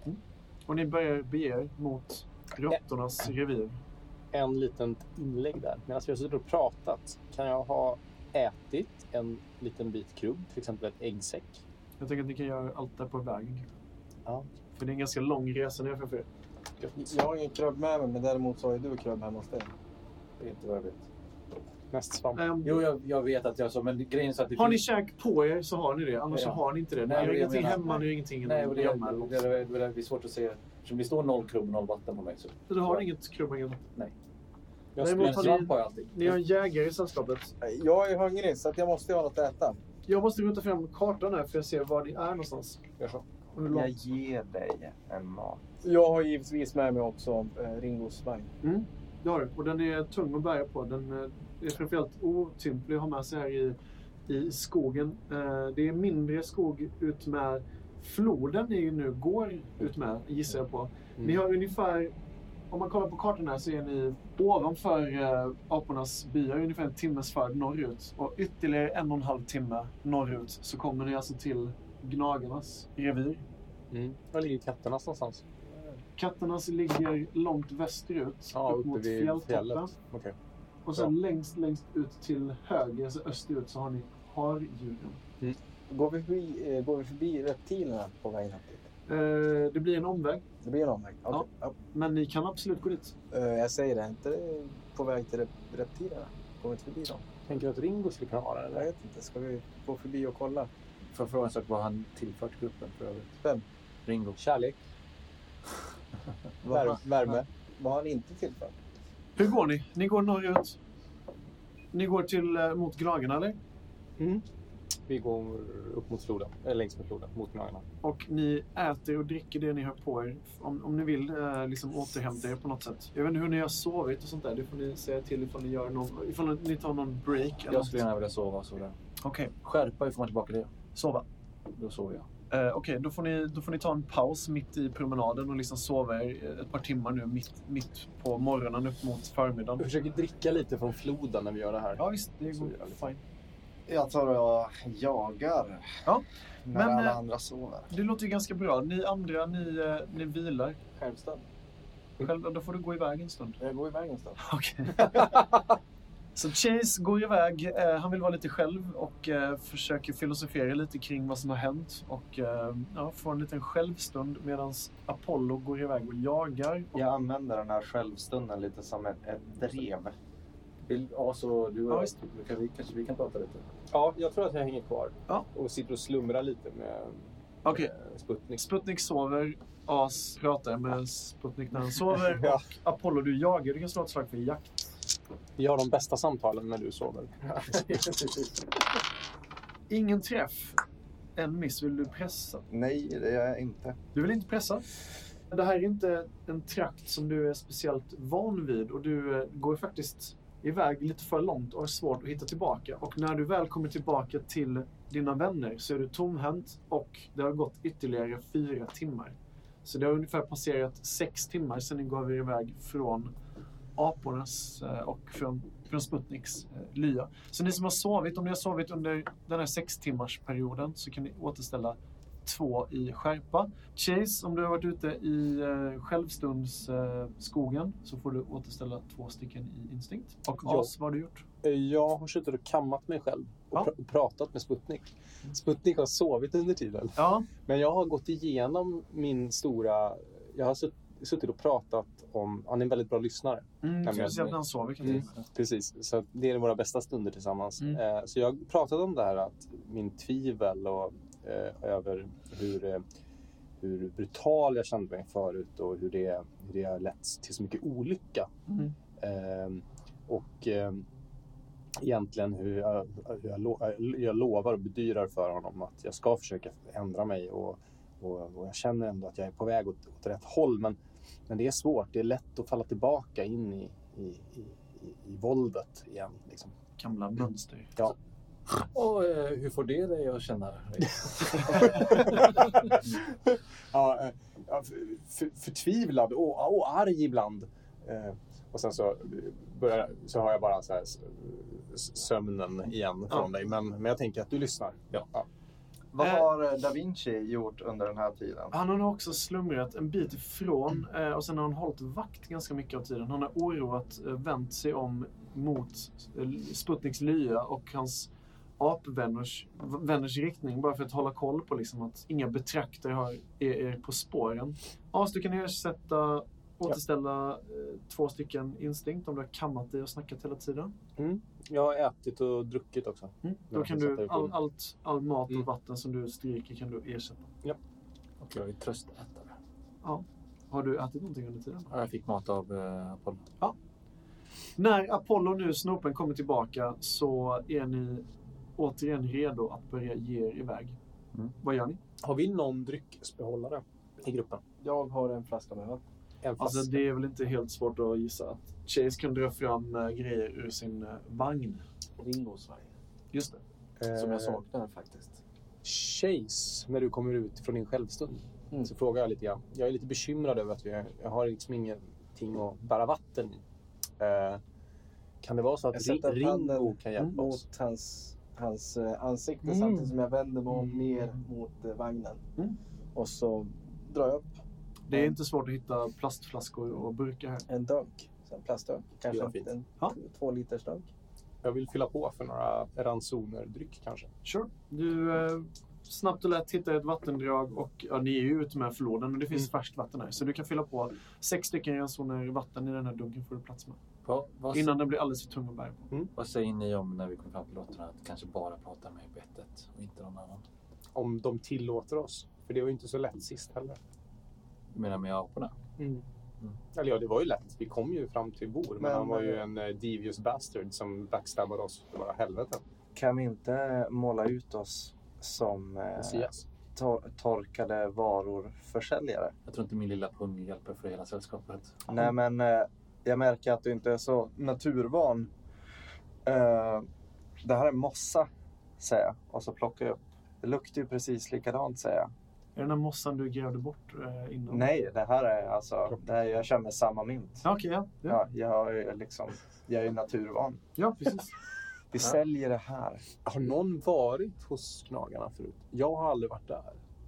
[SPEAKER 4] Och ni börjar bege er mot råttornas revir.
[SPEAKER 6] En liten inlägg där. Medan vi har suttit och pratat kan jag ha ätit en liten bit krubb, till exempel ett äggsäck.
[SPEAKER 4] Jag tänker att ni kan göra allt där på vägen.
[SPEAKER 6] Ja.
[SPEAKER 4] För det är en ganska lång resa ner framför er.
[SPEAKER 3] Jag har ingen krubb med mig, men däremot så har ju du krubb hemma hos dig.
[SPEAKER 1] Det är inte vad jag vet.
[SPEAKER 6] Näst svamp.
[SPEAKER 4] Ehm,
[SPEAKER 7] Jo, jag, jag vet att jag sa, men grejen är så att det
[SPEAKER 4] har ni käk på er så har ni det, annars så
[SPEAKER 7] Ja.
[SPEAKER 4] har ni inte det. Ni
[SPEAKER 7] Nej,
[SPEAKER 4] har
[SPEAKER 7] det är
[SPEAKER 4] ingenting
[SPEAKER 7] jag menar.
[SPEAKER 4] hemma, ni har ingenting
[SPEAKER 7] Nej, och
[SPEAKER 4] att
[SPEAKER 7] det, det,
[SPEAKER 4] gömma.
[SPEAKER 7] det,
[SPEAKER 4] eller något.
[SPEAKER 7] det, det, det är svårt att se. Eftersom det står noll kronor och noll vatten på mig. Så.
[SPEAKER 4] Du har inget krubbhäng.
[SPEAKER 6] Jag
[SPEAKER 4] Nej,
[SPEAKER 6] skulle
[SPEAKER 4] men
[SPEAKER 7] Men
[SPEAKER 4] tar
[SPEAKER 7] svamp
[SPEAKER 4] ni-
[SPEAKER 7] har jag alltid.
[SPEAKER 4] Ni har en jägare i sällskapet.
[SPEAKER 3] Jag är hungrig så att jag måste ju ha något att äta.
[SPEAKER 4] Jag måste rota fram kartan här för att se var ni är någonstans.
[SPEAKER 6] Jaha.
[SPEAKER 4] Och hur
[SPEAKER 5] Jag
[SPEAKER 4] långt.
[SPEAKER 5] ger dig en mat.
[SPEAKER 3] Jag har givetvis med mig också eh, Ringos vagn.
[SPEAKER 4] Mm, det har du. Och den är tung att bära på. Den eh, är framförallt otymplig att ha med sig här i, i skogen. Eh, Det är mindre skog ut med floden ni ju nu går ut med, gissar jag på.
[SPEAKER 6] Mm.
[SPEAKER 4] Ni har ungefär, om man kollar på kartan här så är ni ovanför eh, apornas byar, ungefär en timmes färd norrut. Och ytterligare en och en halv timme norrut så kommer ni alltså till Gnagarnas revir.
[SPEAKER 6] Mm. Var ligger katterna någonstans?
[SPEAKER 4] Katternas ligger långt västerut,
[SPEAKER 6] Ja,
[SPEAKER 4] upp
[SPEAKER 6] uppe
[SPEAKER 4] mot
[SPEAKER 6] vid
[SPEAKER 4] fjälltoppen.
[SPEAKER 6] fjället. Okej.
[SPEAKER 4] Och sen längst, längst ut till höger, alltså österut, så har ni hardjuren.
[SPEAKER 3] Går vi förbi, eh, går vi förbi reptilerna på vägen upp dit?
[SPEAKER 4] Eh, det blir en omväg,
[SPEAKER 3] Det blir en omväg. Okej. Ja.
[SPEAKER 4] men ni kan absolut gå dit.
[SPEAKER 3] Eh, Jag säger det, är inte det på väg till rep- reptilerna? Går vi inte förbi dem?
[SPEAKER 6] Tänker du att Ringo skulle kunna vara där?
[SPEAKER 3] Jag
[SPEAKER 6] Eller?
[SPEAKER 3] vet inte, ska vi gå förbi och kolla?
[SPEAKER 7] Får jag fråga en sak vad han tillfört gruppen för övrigt?
[SPEAKER 3] Vem?
[SPEAKER 7] Ringo.
[SPEAKER 6] (laughs) Kärlek.
[SPEAKER 3] Vad-
[SPEAKER 6] Värme.
[SPEAKER 3] Vad har han inte tillfört?
[SPEAKER 4] Hur går ni? Ni går norrut. Ni går till, eh, mot Gnagarna, eller?
[SPEAKER 6] Vi går upp mot floden. Eller längs med floden, mot Gnagarna.
[SPEAKER 4] Och ni äter och dricker det ni har på er. Om, om ni vill eh, liksom återhämta er på något sätt. Jag vet inte hur ni har sovit och sånt där. Det får ni säga till ifall ni, gör någon, ifall ni tar någon break. eller
[SPEAKER 7] Jag skulle
[SPEAKER 4] något.
[SPEAKER 7] gärna vilja sova. Så där.
[SPEAKER 4] Okej,
[SPEAKER 7] Skärpa, hur får man tillbaka det?
[SPEAKER 4] sova.
[SPEAKER 7] Då sover jag.
[SPEAKER 4] Eh, Okej, då, får ni- då får ni ta en paus mitt i promenaden och liksom sova er eh, ett par timmar nu mitt, mitt på morgonen upp mot
[SPEAKER 6] Vi
[SPEAKER 4] förmiddagen.
[SPEAKER 6] försöker dricka lite från floden när vi gör det här.
[SPEAKER 4] Ja visst, det
[SPEAKER 6] Så
[SPEAKER 4] går
[SPEAKER 6] gör vi.
[SPEAKER 4] fine.
[SPEAKER 5] Jag tar och jagar.
[SPEAKER 4] Ja,
[SPEAKER 5] När
[SPEAKER 4] men,
[SPEAKER 5] alla
[SPEAKER 4] eh,
[SPEAKER 5] andra sover.
[SPEAKER 4] Det låter ju ganska bra. Ni andra, ni, eh, ni vilar.
[SPEAKER 3] Självständigt.
[SPEAKER 4] Själv, då får du gå iväg
[SPEAKER 3] (laughs)
[SPEAKER 4] en stund.
[SPEAKER 3] Jag går iväg en stund.
[SPEAKER 4] Okej. (laughs) Så Chase går iväg. Eh, han vill vara lite själv och eh, försöker filosofera lite kring vad som har hänt och eh, ja, får en liten självstund medan Apollo går iväg och jagar. Och,
[SPEAKER 5] Jag använder den här självstunden lite som ett, ett drev.
[SPEAKER 7] Vill, ja, så du och
[SPEAKER 4] Ja,
[SPEAKER 7] jag,
[SPEAKER 4] visst.
[SPEAKER 7] vi kan, vi, kanske vi kan prata lite.
[SPEAKER 6] Ja, jag tror att jag hänger kvar.
[SPEAKER 4] Ja.
[SPEAKER 6] Och sitter och slumrar lite med
[SPEAKER 4] Okej.
[SPEAKER 6] eh, Sputnik.
[SPEAKER 4] Sputnik sover. As pratar med Sputnik när han sover.
[SPEAKER 6] Ja.
[SPEAKER 4] Och Apollo, du jagar. Du kan slå ett slag för jakt.
[SPEAKER 6] Vi har de bästa samtalen när du sover.
[SPEAKER 4] Ingen träff. En miss. Vill du pressa?
[SPEAKER 5] Nej, det gör jag inte.
[SPEAKER 4] Du vill inte pressa? Det här är inte en trakt som du är speciellt van vid och du eh, går faktiskt iväg lite för långt och har svårt att hitta tillbaka. Och när du väl kommer tillbaka till dina vänner så är du tomhänt och det har gått ytterligare fyra timmar. Så det har ungefär passerat sex timmar sedan ni gav er iväg från apornas eh, och från, från Sputniks eh, lya. Så ni som har sovit, om ni har sovit under den här sex timmars perioden så kan ni återställa två i skärpa. Chase, om du har varit ute i eh, självstunds eh, skogen så får du återställa två stycken i instinkt. Och
[SPEAKER 6] Ja.
[SPEAKER 4] As, vad har du gjort?
[SPEAKER 6] Jag har suttit och kammat mig själv och
[SPEAKER 4] Ja.
[SPEAKER 6] pr- pratat med Sputnik. Sputnik har sovit under tiden.
[SPEAKER 4] Ja,
[SPEAKER 6] Men jag har gått igenom min stora... Jag har sutt- suttit och pratat om... Han är en väldigt bra lyssnare.
[SPEAKER 4] mm,
[SPEAKER 6] men-
[SPEAKER 4] speciellt när han sover kan jag
[SPEAKER 6] Mm.
[SPEAKER 4] tänka mig.
[SPEAKER 6] Precis, så att det är våra bästa stunder tillsammans.
[SPEAKER 4] Mm.
[SPEAKER 6] Eh, Så jag har pratat om det här att min tvivel och eh, över hur, eh, hur brutal jag kände mig förut och hur det, hur det har lett till så mycket olycka.
[SPEAKER 4] Mm.
[SPEAKER 6] Eh, Och eh, egentligen hur jag, hur jag, lo, jag lovar och bedyrar för honom att jag ska försöka ändra mig och, och, och jag känner ändå att jag är på väg åt, åt rätt håll. Men, men det är svårt. Det är lätt att falla tillbaka in i, i, i, i- i våldet igen. Liksom.
[SPEAKER 4] Gamla mönster.
[SPEAKER 7] Och eh, hur får det dig att känna?
[SPEAKER 6] (laughs) ja, eh, ja, för- för, förtvivlad och, och arg ibland. Eh, och sen så, börjar, så har jag bara så här, s- s- sömnen igen från dig. Men, men jag tänker att du lyssnar.
[SPEAKER 7] Ja.
[SPEAKER 5] Vad
[SPEAKER 4] Eh.
[SPEAKER 5] har eh, da Vinci gjort under den här tiden?
[SPEAKER 4] Han har nog också slumrat en bit ifrån eh, och sen har han hållit vakt ganska mycket av tiden. Han har oroat eh, vänt sig om mot eh, Sputniks lya och hans apvänners vänners riktning bara för att hålla koll på liksom att inga betraktare har, är, är på spåren. As, du kan ersätta återställa eh, två stycken instinkt om du har kammat dig och snackat hela tiden.
[SPEAKER 6] Jag har ätit och druckit också.
[SPEAKER 4] Mm. Då
[SPEAKER 6] Ja,
[SPEAKER 4] kan
[SPEAKER 6] jag sätter
[SPEAKER 4] du,
[SPEAKER 6] igång.
[SPEAKER 4] all, allt, all mat
[SPEAKER 6] Mm.
[SPEAKER 4] och vatten som du stryker kan du ersätta.
[SPEAKER 7] Och jag är tröstätare.
[SPEAKER 4] Har du ätit någonting under tiden?
[SPEAKER 7] Ja, Jag fick mat av eh, Apollo.
[SPEAKER 4] När Apollo nu, snopen, kommer tillbaka så är ni återigen redo att börja ge er iväg.
[SPEAKER 7] Mm.
[SPEAKER 4] Vad gör ni?
[SPEAKER 6] Har vi någon dryckesbehållare i gruppen?
[SPEAKER 3] Jag har en flaska med öl.
[SPEAKER 6] En flaska?
[SPEAKER 4] Alltså, det är väl inte helt svårt att gissa att Chase kan dra fram eh, grejer ur sin eh, vagn.
[SPEAKER 3] Ringos varje.
[SPEAKER 4] Just det.
[SPEAKER 3] Som jag
[SPEAKER 6] Eh,
[SPEAKER 3] saknar faktiskt.
[SPEAKER 6] Chase, när du kommer ut från din självstund,
[SPEAKER 3] Mm.
[SPEAKER 6] så frågar jag lite grann. Jag är lite bekymrad över att vi, jag har liksom ingenting att bära vatten i. Eh, kan det vara så att
[SPEAKER 3] Jag sätter
[SPEAKER 6] Ri- Ringo
[SPEAKER 3] handen
[SPEAKER 6] kan hjälpa oss?
[SPEAKER 3] mot hans, hans eh, ansikte
[SPEAKER 6] Mm.
[SPEAKER 3] samtidigt som jag vänder mig om
[SPEAKER 4] Mm.
[SPEAKER 3] mer mot eh, vagnen.
[SPEAKER 4] Mm.
[SPEAKER 3] Och så drar jag upp
[SPEAKER 4] Det är inte svårt att hitta plastflaskor och burkar här.
[SPEAKER 3] en dunk, så en plastdunk. Kanske
[SPEAKER 6] vara
[SPEAKER 3] en,
[SPEAKER 6] fint.
[SPEAKER 3] en
[SPEAKER 4] Ja.
[SPEAKER 3] två liters dunk.
[SPEAKER 6] Jag vill fylla på för några ransoner dryck kanske.
[SPEAKER 4] Sure. Du eh, snabbt och lätt hittar ett vattendrag och ja, ni är ju ute med förlådan men det finns
[SPEAKER 6] Mm.
[SPEAKER 4] färskt vatten här. Så du kan fylla på sex stycken ransoner vatten i den här dunken får du plats med.
[SPEAKER 7] Va, vad,
[SPEAKER 4] Innan den blir alldeles för tung att bära på.
[SPEAKER 7] vad säger ni om när vi kommer fram till låtarna att kanske bara prata med bettet och inte någon annan?
[SPEAKER 6] Om de tillåter oss. För det var ju inte så lätt sist heller.
[SPEAKER 7] Du menar med aporna?
[SPEAKER 6] Eller ja, det var ju lätt. Vi kom ju fram till Bor, men,
[SPEAKER 5] Men,
[SPEAKER 6] han var ju
[SPEAKER 5] eh,
[SPEAKER 6] en eh, devious bastard som backstabbade oss för våra helveten.
[SPEAKER 5] Kan vi inte måla ut oss som eh,
[SPEAKER 6] Messias.
[SPEAKER 5] tor- torkade varor-försäljare?
[SPEAKER 7] Jag tror inte min lilla pung hjälper för hela sällskapet.
[SPEAKER 5] Nej, men eh, jag märker att du inte är så naturvan. Eh, det här är mossa, säger jag. Och så plockar jag upp. Det luktar ju precis likadant, säger jag.
[SPEAKER 4] Är det den här mossan du grävde bort eh, innan?
[SPEAKER 5] Nej, det här är alltså... Det här, jag kör med samma mynt.
[SPEAKER 4] Ja, Okej, ja. ja.
[SPEAKER 5] Ja, jag är liksom... Jag är ju naturvan.
[SPEAKER 4] Ja, precis.
[SPEAKER 5] Vi säljer det här.
[SPEAKER 6] Har någon varit hos Gnagarna förut? Jag har aldrig varit där.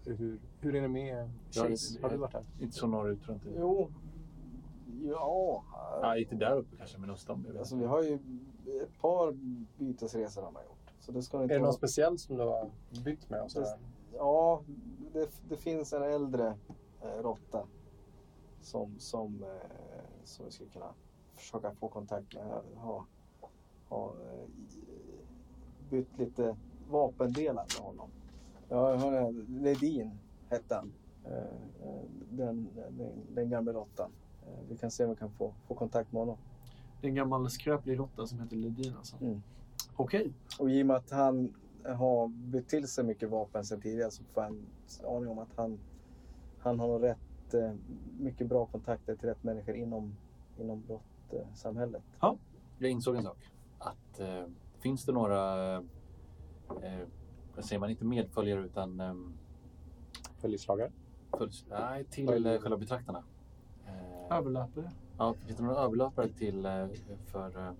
[SPEAKER 6] Hur, hur är det med
[SPEAKER 7] Ja,
[SPEAKER 6] Chase?
[SPEAKER 7] det-
[SPEAKER 6] Har du varit där?
[SPEAKER 7] Inte så norrut tror jag inte.
[SPEAKER 3] Jo. Ja.
[SPEAKER 7] Ja, inte där uppe kanske, men någonstans. Jag vet
[SPEAKER 3] Alltså,
[SPEAKER 7] inte.
[SPEAKER 3] vi har ju ett par bytesresor har man gjort. Så det ska inte
[SPEAKER 6] Är det
[SPEAKER 3] vara-
[SPEAKER 6] någon speciell som du har bytt med? Och sådär?
[SPEAKER 3] Ja, det, det finns en äldre eh, råtta som, som, eh, som vi skulle kunna försöka få kontakt med. Ha, ha eh, i- bytt lite vapendelar med honom. Ja, jag har en, Ledin hette han. Eh, eh, Den, den, den gamla råttan. Eh, Vi kan se om vi kan få, få kontakt med honom.
[SPEAKER 4] Det är en gammal skröplig råtta som heter Ledin alltså.
[SPEAKER 3] Mm.
[SPEAKER 4] Okej.
[SPEAKER 3] Och i och med att han har bytt till sig mycket vapen sen tidigare så får jag en aning om att han, han har nog rätt eh, mycket bra kontakter till rätt människor inom, inom brottsamhället.
[SPEAKER 7] Jag insåg en sak. Att eh, finns det några, eh, vad säger man, inte medföljare utan ehm,
[SPEAKER 6] Följeslagare?
[SPEAKER 7] följs, nej, till
[SPEAKER 6] Följ-
[SPEAKER 7] eh, själva betraktarna? Eh,
[SPEAKER 4] Överlöpare.
[SPEAKER 7] Ja, finns det några överlöpare till eh, för eh,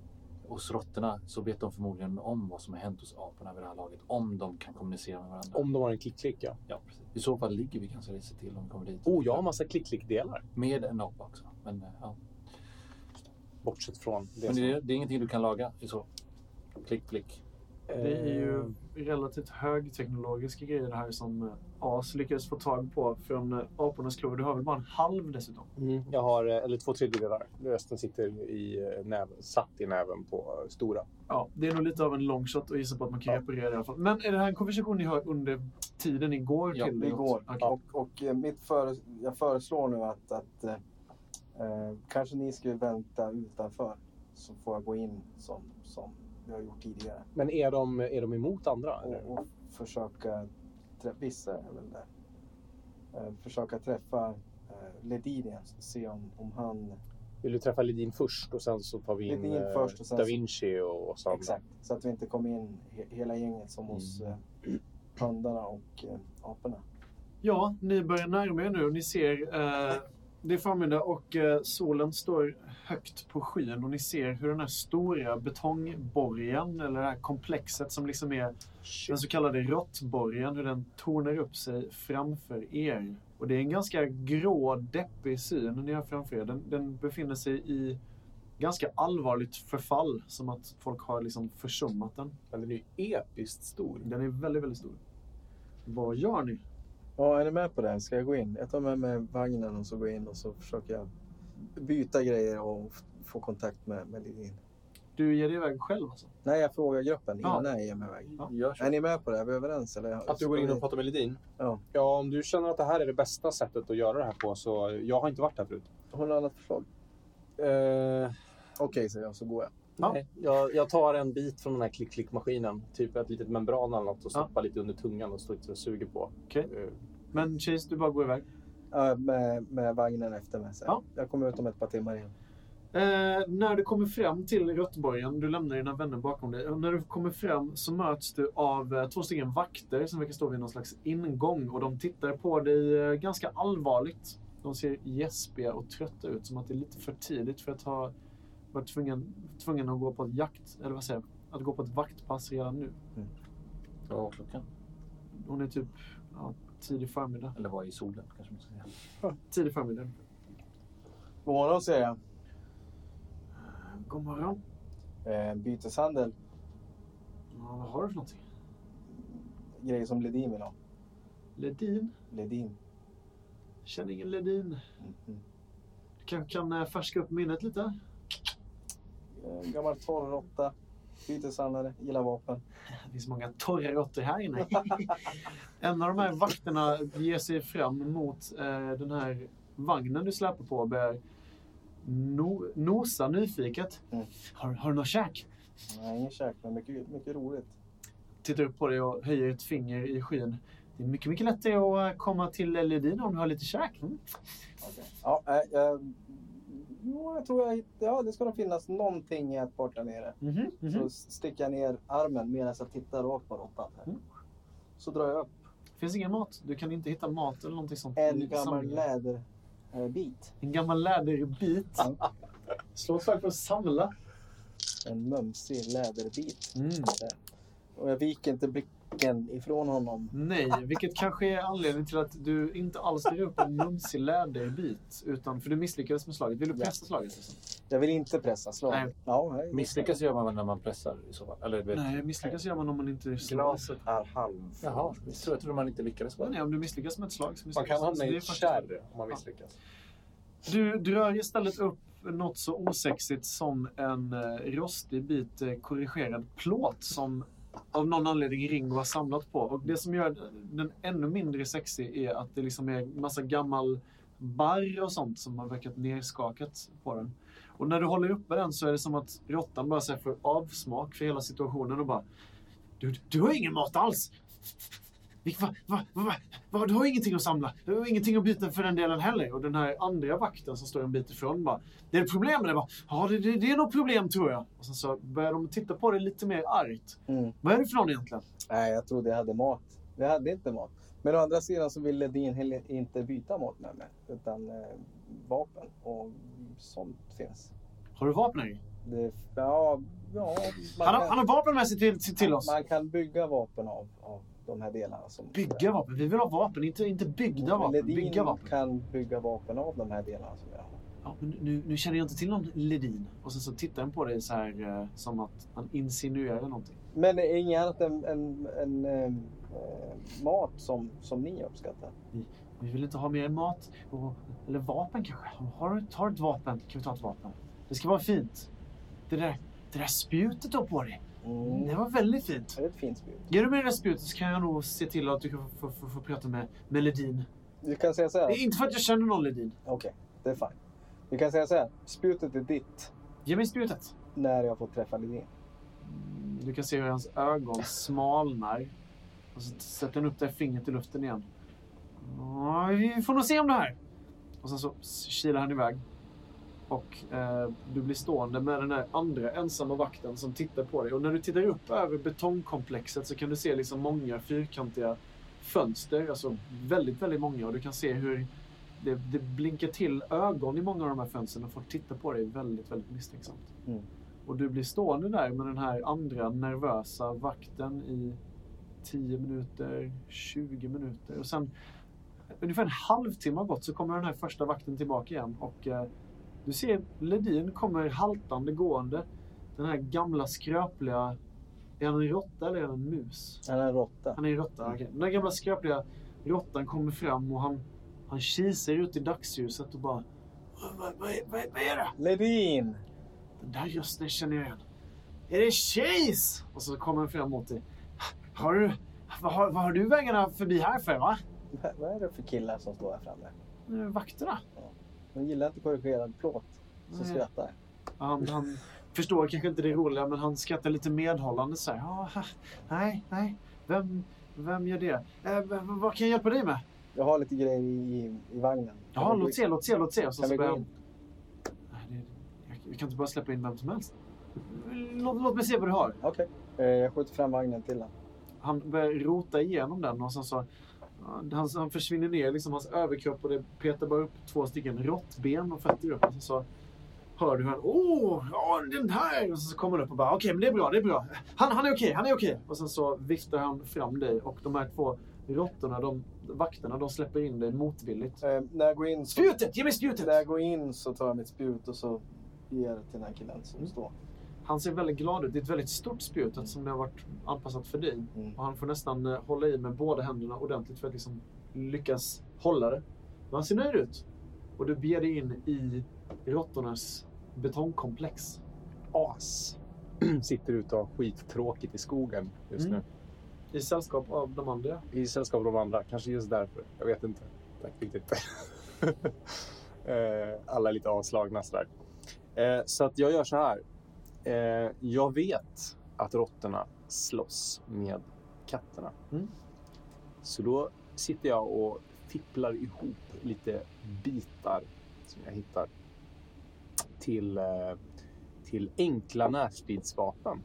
[SPEAKER 7] hos råttorna så vet de förmodligen om vad som har hänt hos aporna vid det här laget. Om de kan kommunicera med varandra.
[SPEAKER 6] Om de har en klick-klick, ja.
[SPEAKER 7] Ja, precis. I så fall ligger vi ganska risigt till om vi kommer dit.
[SPEAKER 6] Oh, jag har massa klick-klick-delar.
[SPEAKER 7] Med en apa också. Men, eh, ja.
[SPEAKER 6] Bortsett från det
[SPEAKER 7] Men
[SPEAKER 6] som-
[SPEAKER 7] det, är, det är ingenting du kan laga i så. Klick, klick.
[SPEAKER 4] Det är
[SPEAKER 6] Eh.
[SPEAKER 4] ju relativt högteknologiska grejer det här som eh, As lyckades få tag på från eh, apornas klor. Du har väl bara en halv dessutom?
[SPEAKER 6] Mm, jag har eh, eller två tredjedelar. Resten sitter i eh, näven, satt i näven på eh, stora.
[SPEAKER 4] Ja, det är nog lite av en long shot att gissa på att man kan reparera det i alla fall. Men är det här en konversation ni har under tiden igår?
[SPEAKER 7] Ja,
[SPEAKER 4] till något?
[SPEAKER 3] igår.
[SPEAKER 4] Okej.
[SPEAKER 3] Och, och eh, mitt före, jag föreslår nu att, att eh, eh, kanske ni skulle vänta utanför så får jag gå in som, som jag har gjort tidigare
[SPEAKER 6] Men är de, är de emot andra? eller?
[SPEAKER 3] och, och försöka träffa, vissa är väl där, eh, försöka träffa eh, Ledin igen och se om, om han,
[SPEAKER 6] Vill du träffa Ledin först och sen så tar vi in
[SPEAKER 3] Ledin
[SPEAKER 6] eh,
[SPEAKER 3] först och sen
[SPEAKER 6] Da
[SPEAKER 3] så-
[SPEAKER 6] Vinci och, och Sandra?
[SPEAKER 3] exakt, så att vi inte kommer in he, hela gänget som hos eh, hundarna och eh, aporna.
[SPEAKER 4] Ja, ni börjar närma er nu och ni ser eh, det är förmiddag och eh, solen står högt på skyn och ni ser hur den här stora betongborgen eller det här komplexet som liksom är den så kallade råttborgen, hur den tornar upp sig framför er. Och det är en ganska grå, deppig syn ni har framför er. Den, den befinner sig i ganska allvarligt förfall, som att folk har liksom försummat den.
[SPEAKER 6] Men den är ju episkt stor.
[SPEAKER 4] Den är väldigt, väldigt stor. Vad gör ni?
[SPEAKER 3] Ja, är ni med på det? här? Ska jag gå in? Jag tar med mig vagnen och så går jag in och så försöker jag byta grejer och f- få kontakt med, med Lidin.
[SPEAKER 4] Du ger dig iväg själv alltså?
[SPEAKER 3] Nej, jag frågar gruppen
[SPEAKER 4] Ja.
[SPEAKER 3] innan jag ger mig iväg.
[SPEAKER 7] Gör så.
[SPEAKER 3] Är ni med på det? Är vi överens? Eller?
[SPEAKER 6] Att du går in och pratar med Ledin?
[SPEAKER 3] Ja.
[SPEAKER 6] Ja, om du känner att det här är det bästa sättet att göra det här på så jag har inte varit här förut.
[SPEAKER 3] Har du annat förslag?
[SPEAKER 6] Eh,
[SPEAKER 3] Okej, säger jag så går jag.
[SPEAKER 4] Ja.
[SPEAKER 6] nej. jag, jag tar en bit från den här klick-klick-maskinen, typ ett litet membran eller något och
[SPEAKER 4] Ja.
[SPEAKER 6] stoppar lite under tungan och står lite och suger på.
[SPEAKER 4] Okej.
[SPEAKER 6] Eh,
[SPEAKER 4] Men Chase, du bara går iväg.
[SPEAKER 3] Ja, med, med vagnen efter mig. Så.
[SPEAKER 4] Ja.
[SPEAKER 3] Jag kommer ut om ett par timmar igen.
[SPEAKER 4] Eh, när du kommer fram till Råttborgen, du lämnar dina vänner bakom dig. Och när du kommer fram så möts du av eh, två stycken vakter som verkar stå vid någon slags ingång. Och de tittar på dig eh, ganska allvarligt. De ser gäspiga och trötta ut, som att det är lite för tidigt för att ha varit tvungen, tvungen att gå på ett jakt, eller vad säger jag, att gå på ett vaktpass redan nu.
[SPEAKER 7] Vad var klockan?
[SPEAKER 4] Hon är typ ja, tidig förmiddag.
[SPEAKER 7] Eller var i solen kanske man ska säga.
[SPEAKER 4] Tidig förmiddag.
[SPEAKER 3] God morgon, säger jag.
[SPEAKER 4] God morgon.
[SPEAKER 3] Eh, byteshandel.
[SPEAKER 4] Ja, vad har du för någonting?
[SPEAKER 3] Grejer som Ledin vill ha.
[SPEAKER 4] Ledin?
[SPEAKER 3] Ledin.
[SPEAKER 4] Känner ingen Ledin.
[SPEAKER 3] Mm.
[SPEAKER 4] Du kanske kan eh, färska upp minnet lite?
[SPEAKER 3] Eh, gammal torrråtta. Byteshandlare. Gillar vapen.
[SPEAKER 4] Det finns många torra råttor
[SPEAKER 3] (laughs)
[SPEAKER 4] här inne. en av de här vakterna ger sig fram mot eh, den här vagnen du släpar på och börjar no nosa nyfiket.
[SPEAKER 3] Mm.
[SPEAKER 4] Har, har du något käk?
[SPEAKER 3] Nej, ingen käk, men mycket, mycket roligt.
[SPEAKER 4] Tittar upp på dig och höjer ett finger i skyn. Det är mycket, mycket lättare att eh, komma till Ledin om du har lite käk. Mm.
[SPEAKER 3] Okej. Ja, eh, jag- jo, jag tror jag... Ja, det ska nog finnas någonting i ett bort där nere.
[SPEAKER 4] Mhm, mhm.
[SPEAKER 3] Så sticker jag ner armen medan jag tittar rakt på råttan. här.
[SPEAKER 4] Mm.
[SPEAKER 3] Så drar jag upp
[SPEAKER 4] Finns ingen mat? Du kan inte hitta mat eller någonting sånt? i
[SPEAKER 3] en gammal
[SPEAKER 4] samlingen.
[SPEAKER 3] läderbit.
[SPEAKER 4] En gammal läderbit. Slå ett slag för att samla.
[SPEAKER 3] En mumsig läderbit.
[SPEAKER 4] Mm.
[SPEAKER 3] Och jag viker inte blicken ifrån honom.
[SPEAKER 4] Nej, vilket kanske är anledningen till att du inte alls drar upp en mumsig läderbit. Utan, för du misslyckades med slaget. Vill du
[SPEAKER 3] Ja.
[SPEAKER 4] pressa slaget?
[SPEAKER 3] Jag vill inte pressa slag.
[SPEAKER 4] Nej.
[SPEAKER 3] Ja, nej.
[SPEAKER 7] Misslyckas gör man väl när man pressar i så fall? Eller du vet.
[SPEAKER 4] Nej, misslyckas gör man om man inte slår.
[SPEAKER 5] Glaset är halvt.
[SPEAKER 7] Jaha, jag tror, jag tror man inte lyckades med det.
[SPEAKER 4] Nej, om du misslyckas med ett slag så
[SPEAKER 6] Man
[SPEAKER 4] misslyckas
[SPEAKER 6] kan
[SPEAKER 4] du. Så
[SPEAKER 6] hamna
[SPEAKER 4] det
[SPEAKER 6] i
[SPEAKER 4] är
[SPEAKER 6] ett
[SPEAKER 4] faktiskt-
[SPEAKER 6] kärr om man misslyckas.
[SPEAKER 4] Du drar istället upp något så osexigt som en eh, rostig bit eh, korrigerad plåt som av någon anledning Ringo har samlat på. Och det som gör den ännu mindre sexig är att det liksom är massa gammal barr och sånt som har verkat nerskakat på den. Och när du håller uppe den så är det som att råttan bara så här får avsmak för hela situationen och bara Du, du har ingen mat alls! Vil- Va, va, va, va, va, du har ingenting att samla. Du har ingenting att byta för den delen heller. Och den här andra vakten som står en bit ifrån bara. Det är problem med det. Bara, Ja, det, det, det är nog problem tror jag. Och sen så börjar de titta på det lite mer argt.
[SPEAKER 3] Mm.
[SPEAKER 4] Vad är det för någon egentligen?
[SPEAKER 3] nej, jag trodde jag hade mat. Jag hade inte mat. Men å andra sidan så ville Dean heller inte byta mat med mig. Utan eh, vapen och sånt finns.
[SPEAKER 4] Har du vapen här?
[SPEAKER 3] Det, ja, ja, man,
[SPEAKER 4] Han har,
[SPEAKER 3] kan,
[SPEAKER 4] han har vapen med sig till, till, till oss.
[SPEAKER 3] man kan bygga vapen av, av de här delarna. Som,
[SPEAKER 4] Bygga vapen. Vi vill ha vapen, inte, inte byggda vapen.
[SPEAKER 3] Ledin
[SPEAKER 4] Bygga vapen.
[SPEAKER 3] kan bygga vapen av de här delarna som jag har.
[SPEAKER 4] Ja, men nu, nu känner jag inte till någon Ledin. Och sen så tittar han på dig så här eh, som att han insinuerar någonting.
[SPEAKER 3] Men det är inget annat än, än, än ehm, eh, mat som, som ni uppskattar?
[SPEAKER 4] Vi vill inte ha mer mat. Och, eller vapen kanske. Har du tar ett vapen? Kan vi ta ett vapen? Det ska vara fint. Det där, det där spjutet du har på dig.
[SPEAKER 3] Mm.
[SPEAKER 4] Det var väldigt fint.
[SPEAKER 3] Det är ett fint spjut.
[SPEAKER 4] Ger du mig det där spjutet så kan jag nog se till att du kan få, få, få, få prata med, med Ledin.
[SPEAKER 3] Du kan säga så här.
[SPEAKER 4] Det är inte för att jag känner någon Ledin.
[SPEAKER 3] Okej, det är fine. Du kan säga så här. Spjutet är ditt
[SPEAKER 4] Ge mig spjutet.
[SPEAKER 3] när jag får träffa Lidén.
[SPEAKER 4] Du kan se hur hans ögon smalnar. Och så sätter han upp det här fingret i luften igen. Ja, Vi får nog se om det här. Och sen så kilar han iväg. Och eh, du blir stående med den där andra ensamma vakten som tittar på dig. Och när du tittar upp över betongkomplexet så kan du se liksom många fyrkantiga fönster. Alltså väldigt, väldigt många. Och du kan se hur det, det blinkar till ögon i många av de här fönstren. Och folk tittar på dig väldigt, väldigt misstänksamt. Och du blir stående där med den här andra nervösa vakten i 10 minuter, 20 minuter och sen ungefär en halvtimme har gått så kommer den här första vakten tillbaka igen och eh, du ser Ledin kommer haltande gående. Den här gamla skröpliga, är han en råtta eller är han en mus?
[SPEAKER 3] Han är en råtta.
[SPEAKER 4] Han är en råtta. okej. Den där gamla skröpliga råttan kommer fram och han, han kisar ut i dagsljuset och bara vad, vad, vad, är- vad är det?
[SPEAKER 3] Ledin!
[SPEAKER 4] Den där rösten känner jag igen. Är det Chase? Och så kommer han fram mot dig. Har du, vad, har, vad har du vägarna förbi här för? Va?
[SPEAKER 3] Vad- Vad är det för killar som står här framme?
[SPEAKER 4] Eh, Vakterna.
[SPEAKER 3] De gillar inte korrigerad plåt. Så
[SPEAKER 4] Nej.
[SPEAKER 3] skrattar jag.
[SPEAKER 4] Han, han förstår kanske inte det roliga, men han skrattar lite medhållande. Så här. "Ja, ha, nej, nej. Vem, vem gör det? Eh, v- v- vad kan jag hjälpa dig med?
[SPEAKER 3] Jag har lite grejer i, i vagnen. Kan
[SPEAKER 4] Ja,
[SPEAKER 3] vi gå
[SPEAKER 4] låt
[SPEAKER 3] in?
[SPEAKER 4] se, låt se, låt se. Och så,
[SPEAKER 3] Kan
[SPEAKER 4] så
[SPEAKER 3] vi
[SPEAKER 4] börjar
[SPEAKER 3] gå
[SPEAKER 4] han...
[SPEAKER 3] in?
[SPEAKER 4] Nej, det, jag, vi kan inte bara släppa in vem som helst. Låt, låt mig se vad du har.
[SPEAKER 3] Okej. Eh, Jag skjuter fram vagnen till honom.
[SPEAKER 4] Han börjar rota igenom den och sen så... Han, han försvinner ner, liksom hans överkropp och det petar bara upp två stycken råttben och fötter upp. Och sen så hör du hur han... Åh, ja, den här! Och sen så kommer han upp och bara okej, men det är bra, det är bra. Han, han är okej, han är okej. Och sen så viftar han fram dig och de här två råttorna, de vakterna, de släpper in dig motvilligt.
[SPEAKER 3] Eh, När jag går in så,
[SPEAKER 4] Spjutet! Ge mig
[SPEAKER 3] när jag
[SPEAKER 4] spjutet!
[SPEAKER 3] går in så tar jag mitt spjut och så ger jag det till den här killen
[SPEAKER 4] Mm.
[SPEAKER 3] som står.
[SPEAKER 4] Han ser väldigt glad ut. Det är ett väldigt stort spjut eftersom det har varit anpassat för dig.
[SPEAKER 3] Mm.
[SPEAKER 4] Och han får nästan eh, hålla i med båda händerna ordentligt för att liksom lyckas hålla det. Men han ser nöjd ut. Och du beger dig in i råttornas betongkomplex.
[SPEAKER 6] As! (clears throat) Sitter ute och har skittråkigt i skogen just
[SPEAKER 4] Mm.
[SPEAKER 6] nu.
[SPEAKER 4] I sällskap av de andra.
[SPEAKER 6] I sällskap av de andra. Kanske just därför. Jag vet inte. (laughs) Tack riktigt. Eh, Alla är lite avslagna sådär. Eh, Så att jag gör så här. Eh, Jag vet att råttorna slåss med katterna.
[SPEAKER 4] Mm.
[SPEAKER 6] Så då sitter jag och fipplar ihop lite bitar som jag hittar till, eh, till enkla närstridsvapen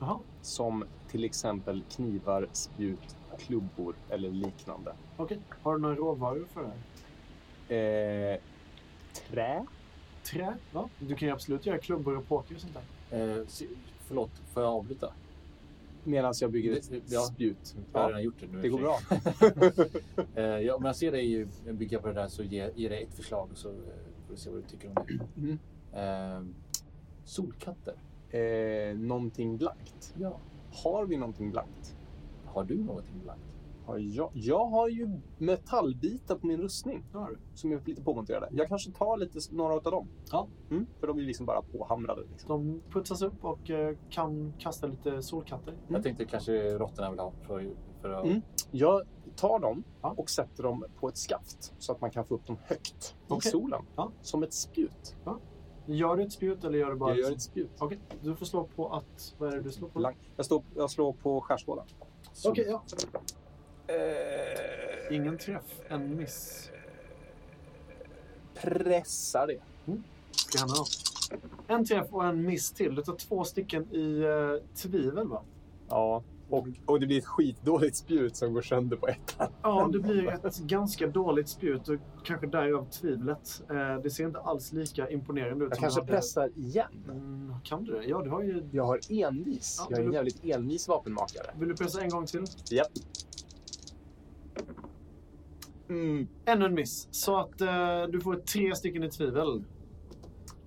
[SPEAKER 4] Jaha.
[SPEAKER 6] som till exempel knivar, spjut, klubbor eller liknande.
[SPEAKER 4] Okej. Har du några råvaror för det här?
[SPEAKER 6] Eh, trä?
[SPEAKER 4] Trä? Ja. Du kan ju absolut göra klubbor och påkar och sånt där.
[SPEAKER 7] Eh, se- förlåt, får jag avbryta?
[SPEAKER 6] Medan jag bygger ett
[SPEAKER 7] Det- det- ja.
[SPEAKER 6] spjut.
[SPEAKER 7] Jag har
[SPEAKER 6] Ja,
[SPEAKER 7] redan gjort det nu.
[SPEAKER 6] det går bra.
[SPEAKER 7] Eh, ja, om jag ser dig ju bygga på det där så ge, ge dig ett förslag och så eh, får du se vad du tycker om det.
[SPEAKER 6] Mm.
[SPEAKER 7] Eh, solkatter.
[SPEAKER 6] Eh, någonting blankt.
[SPEAKER 7] Ja.
[SPEAKER 6] Har vi någonting blankt?
[SPEAKER 7] Har du någonting blankt?
[SPEAKER 6] Har jag? jag har ju metallbitar på min rustning
[SPEAKER 4] Det har du.
[SPEAKER 6] som är lite påmonterade. Jag kanske tar lite, några av dem.
[SPEAKER 7] Ja.
[SPEAKER 6] Mm, för de är liksom bara påhamrade. Liksom.
[SPEAKER 4] De putsas upp och eh, kan kasta lite solkatter.
[SPEAKER 7] Jag tänkte kanske råttorna vill ha för, för att...
[SPEAKER 6] Mm. Jag tar dem
[SPEAKER 4] Ja.
[SPEAKER 6] och sätter dem på ett skaft så att man kan få upp dem högt i
[SPEAKER 4] Okej.
[SPEAKER 6] solen.
[SPEAKER 4] Ja.
[SPEAKER 6] Som ett spjut.
[SPEAKER 4] Gör du ett spjut eller gör du bara...
[SPEAKER 6] Jag gör ett spjut.
[SPEAKER 4] Okej. Du får slå på att... Vad är det du slår på?
[SPEAKER 6] Blank. Jag, står, jag slår på skärsvålan.
[SPEAKER 7] Sol-
[SPEAKER 4] Okej, ja. Ingen träff, en miss.
[SPEAKER 6] Pressar det.
[SPEAKER 4] Det handlar om. En träff och en miss till. Du tar två stycken i eh, tvivel va?
[SPEAKER 6] Ja, Och, och det blir ett skitdåligt spjut som går sönder på ett.
[SPEAKER 4] Ja, det blir ett ganska dåligt spjut och kanske därav tvivlet. Eh, Det ser inte alls lika imponerande ut.
[SPEAKER 6] Jag
[SPEAKER 4] som
[SPEAKER 6] kanske
[SPEAKER 4] hade-
[SPEAKER 6] pressar igen.
[SPEAKER 4] Mm, kan du det? Ja, du har ju...
[SPEAKER 6] Jag har envis.
[SPEAKER 4] Ja,
[SPEAKER 6] jag är en
[SPEAKER 4] du-
[SPEAKER 6] jävligt envis vapenmakare.
[SPEAKER 4] Vill du pressa en gång till?
[SPEAKER 6] Mm.
[SPEAKER 4] Ännu en miss. Så att eh, du får tre stycken i tvivel.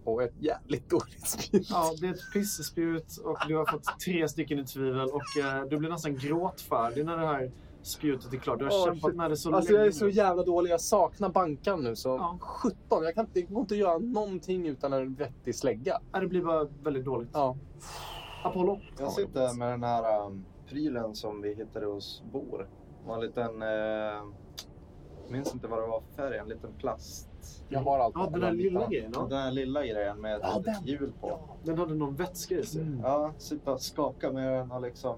[SPEAKER 6] Och ett jävligt dåligt spjut.
[SPEAKER 4] Ja, det är ett pissespjut och du har fått tre stycken i tvivel och eh, du blir nästan gråtfärdig när det här spjutet är klart. Du har
[SPEAKER 6] Åh,
[SPEAKER 4] kämpat
[SPEAKER 6] shit.
[SPEAKER 4] med det så
[SPEAKER 6] Alltså
[SPEAKER 4] länge.
[SPEAKER 6] jag är så
[SPEAKER 4] nu.
[SPEAKER 6] jävla dålig. Jag saknar bankan nu så
[SPEAKER 4] Ja.
[SPEAKER 6] 17. Jag kan inte, det går inte att göra någonting utan en vettig slägga.
[SPEAKER 4] Ja, det blir bara väldigt dåligt.
[SPEAKER 6] Ja.
[SPEAKER 4] Apollo.
[SPEAKER 5] Jag sitter här med den här um, prylen som vi hittade hos Bor. Det var en liten... Uh, minns inte vad det var för färg. En liten plast.
[SPEAKER 6] Jag har allt.
[SPEAKER 4] Ja, den där lilla grejen.
[SPEAKER 5] Den
[SPEAKER 4] Ja.
[SPEAKER 5] där lilla grejen med ett
[SPEAKER 6] Ja,
[SPEAKER 5] litet
[SPEAKER 6] den.
[SPEAKER 5] hjul på.
[SPEAKER 4] Den hade någon vätska i sig.
[SPEAKER 3] Mm.
[SPEAKER 5] Ja, sitta och skaka med den och liksom...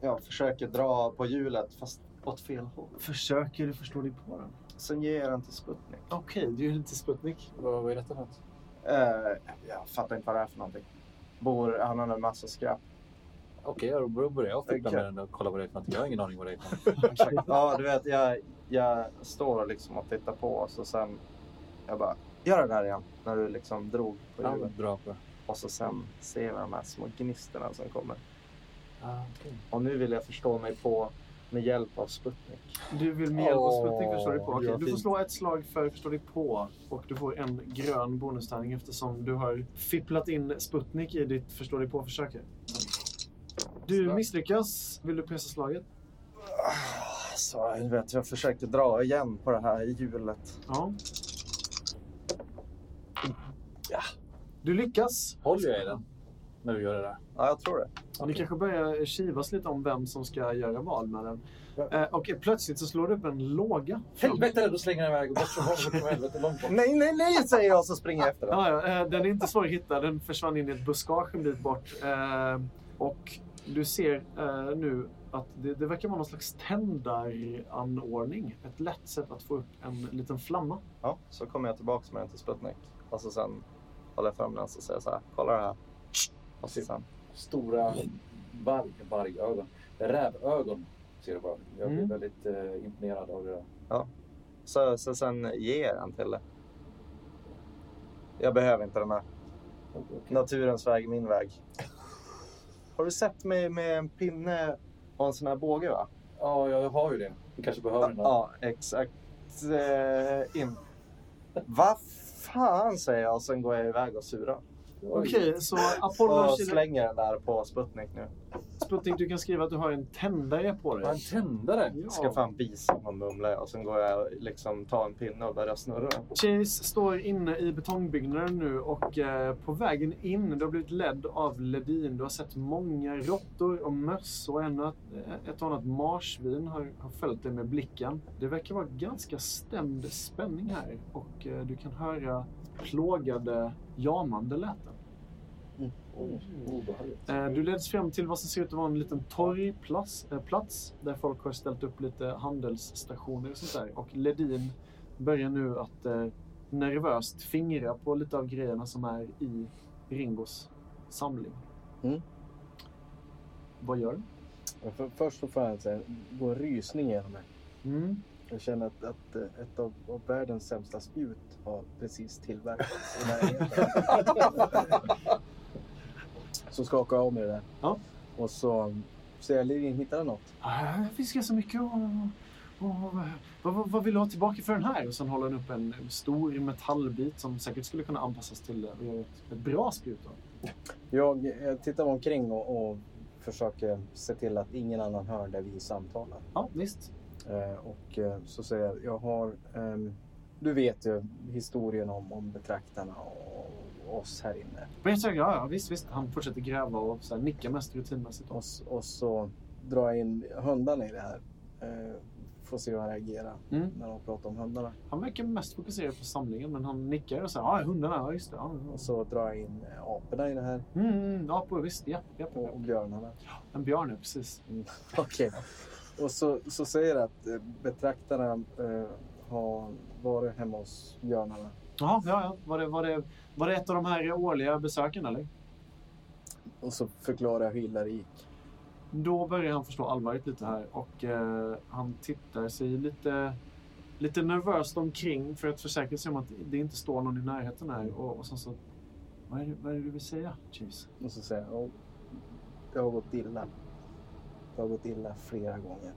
[SPEAKER 5] Ja, försöker dra på hjulet fast åt fel håll.
[SPEAKER 4] Försöker du förstå dig på den?
[SPEAKER 5] Sen ger jag den till Sputnik.
[SPEAKER 4] Okej, du är inte Sputnik.
[SPEAKER 7] Vad vad är detta för något?
[SPEAKER 5] Eh, jag fattar inte vad det är för någonting. Bor, han hade en massa skräp.
[SPEAKER 7] Okej, okay, då börjar jag fippla
[SPEAKER 5] Okej.
[SPEAKER 7] med den och kolla vad det är för något. Jag har ingen aning vad det är för något.
[SPEAKER 5] ja, du vet, jag, jag står liksom och tittar på och så sen... Jag bara, gör det där igen. När du liksom drog på
[SPEAKER 7] Ja,
[SPEAKER 5] hjulet.
[SPEAKER 7] bra på det.
[SPEAKER 5] Och så sen ser jag de här små gnistorna som kommer.
[SPEAKER 7] Ah, okej.
[SPEAKER 5] Och nu vill jag förstå mig på med hjälp av Sputnik.
[SPEAKER 4] Du vill med hjälp av Sputnik
[SPEAKER 6] Åh,
[SPEAKER 4] förstå dig på. Okej,
[SPEAKER 6] det var
[SPEAKER 4] du får
[SPEAKER 6] fint.
[SPEAKER 4] slå ett slag för förstå dig på och du får en grön bonustärning eftersom du har fipplat in Sputnik i ditt förstå dig på-försök. här. Du misslyckas. Vill du pressa slaget?
[SPEAKER 5] Ah, Så jag vet, jag försökte dra igen på det här hjulet.
[SPEAKER 4] Ja. Du lyckas.
[SPEAKER 7] Håller jag i den när du gör det där?
[SPEAKER 5] Ja, jag tror det.
[SPEAKER 4] Ni kanske börjar kivas lite om vem som ska göra vad med den. Eh, och plötsligt så slår du upp en låga.
[SPEAKER 7] Helvete, då slänger jag iväg och bort från honom. för Helvete, långt bort.
[SPEAKER 5] Nej, nej, nej, säger jag så springer jag efter den.
[SPEAKER 4] Ja, ja, eh, den är inte svår att hitta. Den försvann in i ett buskage en bit bort. Eh, och du ser eh, nu att det, det verkar vara någon slags tändaranordning. Ett lätt sätt att få upp en liten flamma.
[SPEAKER 5] Ja, så kommer jag tillbaka med den till Sputnik. Och så sen håller jag fram den och så säger jag så här, kolla det här. Och så sen,
[SPEAKER 7] Stora varg, vargögon. Rävögon ser du bara. Jag blir
[SPEAKER 4] Mm.
[SPEAKER 7] väldigt eh, imponerad av det där.
[SPEAKER 5] så, så sen ger jag den till dig. Jag behöver inte den här. Naturens väg, min väg. Har du sett mig med en pinne och en sån här båge va?
[SPEAKER 7] Ja, jag har ju det. Du kanske behöver
[SPEAKER 5] Ja,
[SPEAKER 7] den.
[SPEAKER 5] ja exakt. Eh, in. Vad fan säger jag och sen går jag iväg och surar.
[SPEAKER 4] Okej, så Apollo
[SPEAKER 5] Och
[SPEAKER 4] Chile...
[SPEAKER 5] slänger den där på Sputnik nu.
[SPEAKER 4] Sputnik, du kan skriva att du har en tändare på dig.
[SPEAKER 7] Har en tändare?
[SPEAKER 4] Ja.
[SPEAKER 5] Ska fan visa honom mumlar jag och sen går jag och liksom tar en pinne och börjar snurra den.
[SPEAKER 4] Chase står inne i betongbyggnaden nu och eh, på vägen in, du har blivit ledd av Ledin. Du har sett många råttor och möss och ännu ett- eh, ett och annat marsvin har, har följt dig med blicken. Det verkar vara ganska stämd spänning här och eh, du kan höra plågade jamande läten.
[SPEAKER 7] Oj, obehagligt.
[SPEAKER 4] Eh, Du leds fram till vad som ser ut att vara en liten torgplats eh, plats, där folk har ställt upp lite handelsstationer och sånt där. Och Ledin börjar nu att eh, nervöst fingra på lite av grejerna som är i Ringos samling.
[SPEAKER 3] Mm.
[SPEAKER 4] Vad gör du?
[SPEAKER 3] Men För, först och främst eh, går en rysning genom mig.
[SPEAKER 4] Mm.
[SPEAKER 3] Jag känner att, att eh, ett av, av världens sämsta spjut har precis tillverkats i närheten.
[SPEAKER 5] (laughs)
[SPEAKER 3] så skakar jag av mig det där.
[SPEAKER 4] Ja.
[SPEAKER 3] Och så ser jag Lirin hittar något.
[SPEAKER 4] Här finns ganska mycket och, och, vad, vad, vad vill du ha tillbaka för den här? Och sen håller han upp en stor metallbit som säkert skulle kunna anpassas till eh, att göra ett, ett bra spjut av.
[SPEAKER 3] Jag eh, tittar mig omkring och, och försöker se till att ingen annan hör där vi samtalar.
[SPEAKER 4] Ja, visst.
[SPEAKER 3] Eh, och eh, så säger jag, jag har, ehm, du vet ju historien om, om betraktarna och, och oss här inne.
[SPEAKER 4] Berätta, ja, ja, visst, visst. Han fortsätter gräva och så här, nickar mest rutinmässigt.
[SPEAKER 3] Och, s- och så drar jag in hundarna i det här. Eh, får se hur han reagerar
[SPEAKER 4] Mm.
[SPEAKER 3] när de pratar om hundarna.
[SPEAKER 4] Han verkar mest fokuserad på samlingen, men han nickar och säger ja, hundarna, ja just det. Ja, ja.
[SPEAKER 3] Och så drar jag in eh, aporna i det här
[SPEAKER 4] Mm, ja, på, visst, ja, ja, ja,
[SPEAKER 3] och,
[SPEAKER 4] ja.
[SPEAKER 3] och björnarna.
[SPEAKER 4] En björn, ja, precis.
[SPEAKER 3] Okej. Och så, så säger jag att eh, betraktarna eh, har varit hemma hos björnarna.
[SPEAKER 4] Jaha, ja, ja. Var, det, var, det, var det ett av de här årliga besöken, eller?
[SPEAKER 3] Och så förklarar jag hur illa det gick.
[SPEAKER 4] Då börjar han förstå allvaret lite här och eh, han tittar sig lite, lite nervöst omkring för att försäkra sig om att det inte står någon i närheten här. Och, och sen så, vad är, det, vad är det du vill säga, Chase?
[SPEAKER 3] Och så säger jag, "Ja, det har gått illa. Det har gått illa flera gånger.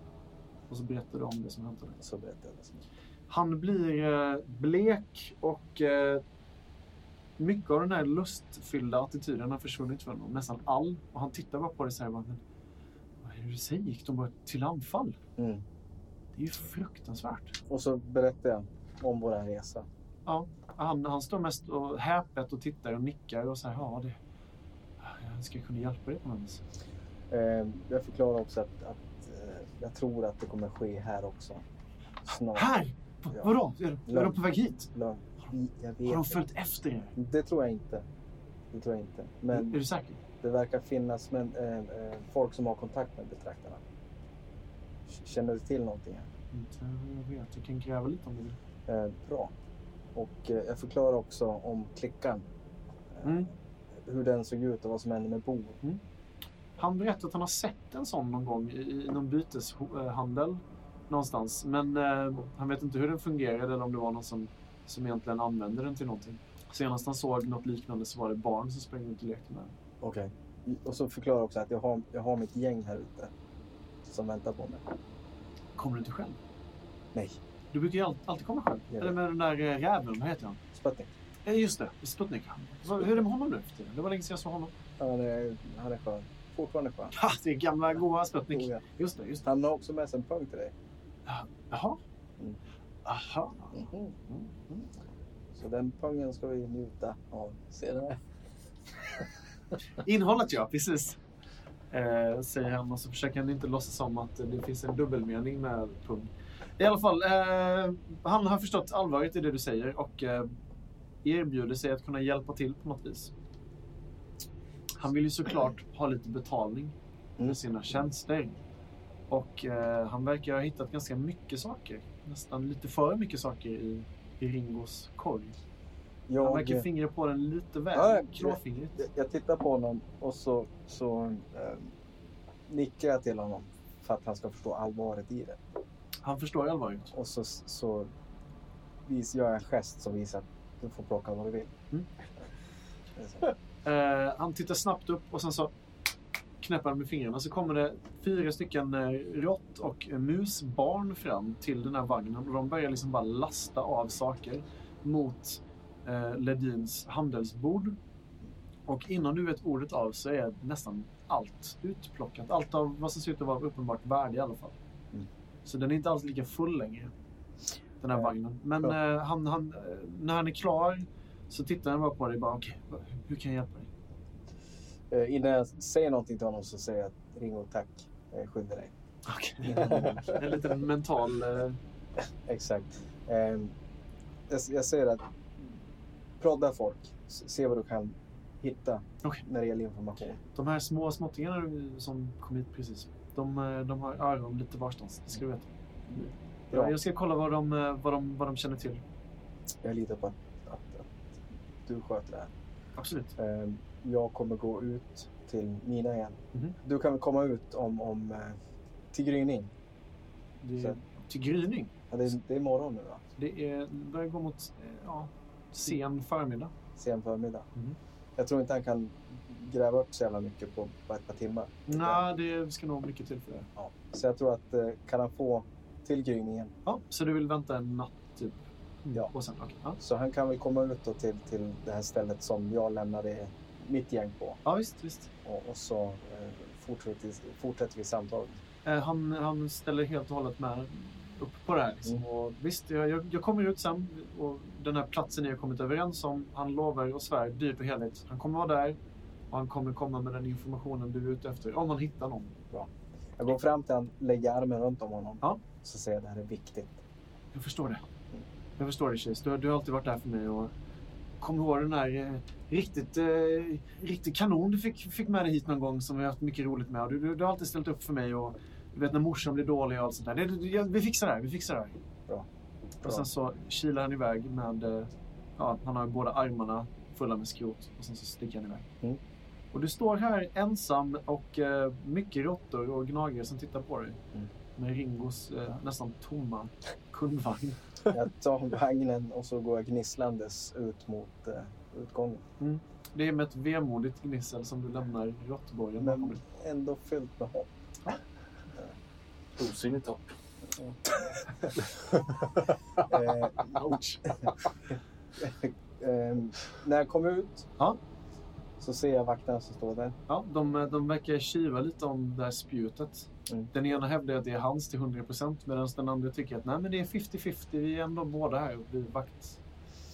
[SPEAKER 4] Och så berättar du om det som hänt dig.
[SPEAKER 3] Så berättar jag det som
[SPEAKER 4] Han blir eh, blek och eh, mycket av den här lustfyllda attityden har försvunnit från honom. Nästan all. Och han tittar bara på det så här. bara, "Men Vad är det du säger? Gick de bara till anfall?
[SPEAKER 3] Mm.
[SPEAKER 4] Det är ju fruktansvärt.
[SPEAKER 3] Och så berättar jag om vår resa.
[SPEAKER 4] Han, han står mest och häpet och tittar och nickar och så här. Ja, det... Jag önskar jag kunde hjälpa dig på något vis.
[SPEAKER 3] Eh, jag förklarar också att, att eh, jag tror att det kommer ske här också. Snart.
[SPEAKER 4] Här! V-
[SPEAKER 3] Ja.
[SPEAKER 4] Vadå? Är, de- är de på väg hit?
[SPEAKER 3] Lön. Jag
[SPEAKER 4] Har de
[SPEAKER 3] vet
[SPEAKER 4] följt efter er?
[SPEAKER 3] inte. Det tror jag inte. Det tror jag inte.
[SPEAKER 4] Är
[SPEAKER 3] Men
[SPEAKER 4] du säker?
[SPEAKER 3] det verkar finnas men, eh, eh, folk som har kontakt med betraktarna. K- Känner du till någonting? Här?
[SPEAKER 4] Inte vad jag vet. Jag kan gräva lite om det.
[SPEAKER 3] Eh, bra. Och eh, jag förklarar också om klickan. Eh,
[SPEAKER 4] Mm.
[SPEAKER 3] Hur den såg ut och vad som hände med Bo.
[SPEAKER 4] Han berättade att han har sett en sån någon gång i, i någon byteshandel någonstans. Men eh, han vet inte hur den fungerade eller om det var någon som, som egentligen använde den till någonting. Senast han såg något liknande så var det barn som sprang runt och lekte med den.
[SPEAKER 3] Okej. Och så förklarar jag också att jag har, jag har mitt gäng här ute. Som väntar på mig.
[SPEAKER 4] Kommer du inte själv?
[SPEAKER 3] Nej.
[SPEAKER 4] Du brukar ju all- alltid komma själv.
[SPEAKER 3] Ja.
[SPEAKER 4] Eller med den där eh, räven, vad heter han?
[SPEAKER 3] Sputnik.
[SPEAKER 4] Eh, just det, Sputnik. Så, hur är det med honom nu för tiden? Det var länge sedan jag såg honom.
[SPEAKER 3] Han är, han är skön. Fortfarande skön.
[SPEAKER 4] Ha, det är gamla goa Sputnik.
[SPEAKER 3] tror jag.
[SPEAKER 4] Just det, just det.
[SPEAKER 3] Han har också med sig en pung till dig.
[SPEAKER 4] Jaha.
[SPEAKER 3] Mm.
[SPEAKER 4] Aha.
[SPEAKER 3] Mm. Så den pungen ska vi njuta av senare.
[SPEAKER 4] Innehållet ja, precis. Eh, säger han och så försöker han inte låtsas som att det finns en dubbelmening med pung. I alla fall, eh, han har förstått allvaret i det du säger och eh, erbjuder sig att kunna hjälpa till på något vis. Han vill ju såklart ha lite betalning för
[SPEAKER 3] Mm.
[SPEAKER 4] sina tjänster. Och eh, han verkar ha hittat ganska mycket saker. Nästan lite för mycket saker i, i Ringos korg. Han
[SPEAKER 3] Jag,
[SPEAKER 4] verkar fingra på den lite väl
[SPEAKER 3] Ja, jag-
[SPEAKER 4] klåfingrigt.
[SPEAKER 3] jag- jag tittar på honom och så, så eh, nickar jag till honom för att han ska förstå allvaret i det.
[SPEAKER 4] Han förstår allvaret.
[SPEAKER 3] Och så, så vis, gör jag en gest som visar att du får plocka vad du vill.
[SPEAKER 4] Mm.
[SPEAKER 3] Det är så.
[SPEAKER 4] Eh, han tittar snabbt upp och sen så knäpper han med fingrarna. Så kommer det fyra stycken eh, rått och eh, musbarn fram till den här vagnen. Och de börjar liksom bara lasta av saker mot eh, Ledins handelsbord. Och innan du vet ordet av så är nästan allt utplockat. Allt av vad som ser ut att vara av uppenbart värde i alla fall.
[SPEAKER 3] Mm.
[SPEAKER 4] Så den är inte alls lika full längre. Den här
[SPEAKER 3] Eh,
[SPEAKER 4] vagnen. Men eh, han, han, eh, när han är klar så tittar han bara på dig och bara okej, va- hur kan jag hjälpa dig?
[SPEAKER 3] (laughs) Eh, Innan jag säger någonting till honom så säger jag att Ringo tack, eh, skynda dig. Innan-
[SPEAKER 4] En liten mental... eh,
[SPEAKER 3] Exakt. Ehm, jag, jag säger att prodda folk, S- se vad du kan hitta
[SPEAKER 4] Okej.
[SPEAKER 3] när det gäller information.
[SPEAKER 4] De här små småttingarna som kom hit precis, de, eh, de har öron lite varstans. Det ska du veta.
[SPEAKER 3] Bra.
[SPEAKER 4] Jag ska kolla vad de, eh, vad de, vad de känner till.
[SPEAKER 3] Jag litar på att, att, att du sköter det här.
[SPEAKER 4] Absolut.
[SPEAKER 3] Ehm, jag kommer gå ut till mina igen.
[SPEAKER 4] Mhm.
[SPEAKER 3] Du kan väl komma ut om, om eh, till gryning?
[SPEAKER 4] Det är,
[SPEAKER 3] Så-
[SPEAKER 4] till gryning.
[SPEAKER 3] Ja, det, är- det är imorgon nu va?
[SPEAKER 4] Det är, det börjar gå mot eh, ja, sen förmiddag.
[SPEAKER 3] Sen förmiddag.
[SPEAKER 4] Mhm.
[SPEAKER 3] Jag tror inte han kan gräva upp så jävla mycket på bara ett par timmar.
[SPEAKER 4] Nej, det ska nog mycket till för det.
[SPEAKER 3] Ja. Så jag tror att eh, kan han få till gryningen
[SPEAKER 4] Ja, så du vill vänta en natt typ?
[SPEAKER 3] Ja.
[SPEAKER 4] Och sen, okej. ja.
[SPEAKER 3] Så han kan väl komma ut då till, till det här stället som jag lämnade mitt gäng på.
[SPEAKER 4] ja, visst, visst.
[SPEAKER 3] Och, och så eh, fortsätter, vi- fortsätter vi samtalet.
[SPEAKER 4] Eh, Han, han ställer helt och hållet med upp på det här. Liksom. Och visst, jag, jag, jag kommer ut sen och den här platsen ni har kommit överens om, han lovar och svär dyrt och heligt. Han kommer vara där och han kommer komma med den informationen du är ute efter, om han hittar någon.
[SPEAKER 3] Jag går fram till honom, lägger armen runt om honom.
[SPEAKER 4] Ja.
[SPEAKER 3] Så säger jag det här är viktigt.
[SPEAKER 4] Jag förstår det. Jag förstår det, Chase. Du, har- du har alltid varit där för mig. Och kom ihåg den här eh, riktigt, eh, riktigt kanon du fick, fick med dig hit någon gång som vi har haft mycket roligt med. Och du, du, du har alltid ställt upp för mig. Och du vet när morsan blir dålig och allt sånt där. Det, det, jag- vi fixar det här, vi fixar det här.
[SPEAKER 3] Bra.
[SPEAKER 4] Och sen så kilar han iväg
[SPEAKER 3] Mm.
[SPEAKER 4] med... eh, Ja, han har båda armarna fulla med skrot och sen så sticker han iväg. Och du står här ensam och eh, mycket råttor och gnagare som tittar på dig.
[SPEAKER 3] Mm.
[SPEAKER 4] Med Ringos eh, nästan tomma kundvagn.
[SPEAKER 3] Jag tar (laughs) vagnen och så går jag gnisslandes ut mot eh, utgången.
[SPEAKER 4] Det är med ett vemodigt gnissel som du lämnar råttborgen bakom
[SPEAKER 3] Men
[SPEAKER 4] dig.
[SPEAKER 3] ändå fyllt med hopp.
[SPEAKER 7] Osynligt hopp.
[SPEAKER 3] Eh, (laughs) eh, när jag kom ut
[SPEAKER 4] Ja.
[SPEAKER 3] så ser jag vakterna som står där.
[SPEAKER 4] Ja, de, de verkar kiva lite om det här spjutet.
[SPEAKER 3] Mm.
[SPEAKER 4] Den ena hävdar att det är hans till 100% medan den andra tycker att nej men det är 50-50, vi är ändå båda här och blir vakt,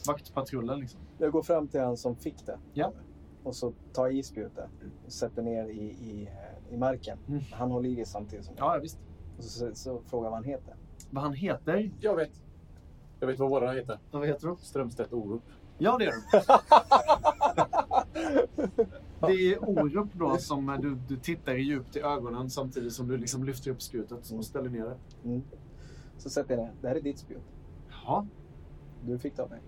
[SPEAKER 4] vaktpatrullen liksom.
[SPEAKER 3] Jag går fram till han som fick det.
[SPEAKER 4] Ja.
[SPEAKER 3] Och så tar jag i spjutet och sätter ner i, i, eh, i marken.
[SPEAKER 4] Mm.
[SPEAKER 3] Han håller i det samtidigt som jag.
[SPEAKER 4] Ja, ja, visst.
[SPEAKER 3] Och så, så, så frågar jag vad han heter.
[SPEAKER 4] Vad han heter?
[SPEAKER 7] Jag vet. Jag vet vad våra heter.
[SPEAKER 4] Vad heter de?
[SPEAKER 7] Strömstedt Orup.
[SPEAKER 4] Ja,
[SPEAKER 3] (laughs)
[SPEAKER 4] det är de. Det är Orup då som eh, du, du tittar djupt i ögonen samtidigt som du liksom lyfter upp spjutet och ställer ner det.
[SPEAKER 3] Mm. Så sätter jag ner. Det här är ditt spjut.
[SPEAKER 4] Ja,
[SPEAKER 3] Du fick det av mig.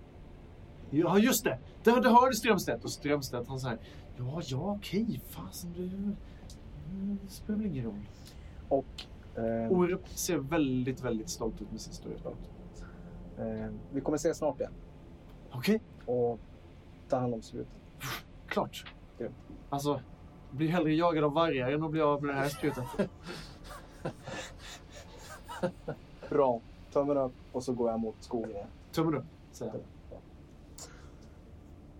[SPEAKER 4] ja just det! Det, det hörde Strömstedt. Och Strömstedt han säger ja, ja, okej, fasen du... mm, Det spelar väl ingen roll.
[SPEAKER 3] Och eh,
[SPEAKER 4] Orup ser väldigt, väldigt stolt ut med sin stora spjut.
[SPEAKER 3] eh, vi kommer ses snart igen.
[SPEAKER 4] Okej,
[SPEAKER 3] Och ta hand om spjutet.
[SPEAKER 4] klart.
[SPEAKER 3] Grymt.
[SPEAKER 4] Alltså, blir hellre jagad av vargar än att bli av med det här spjutet.
[SPEAKER 3] Bra. Tummen upp och så går jag mot skogen igen.
[SPEAKER 4] Tummen upp, säger han.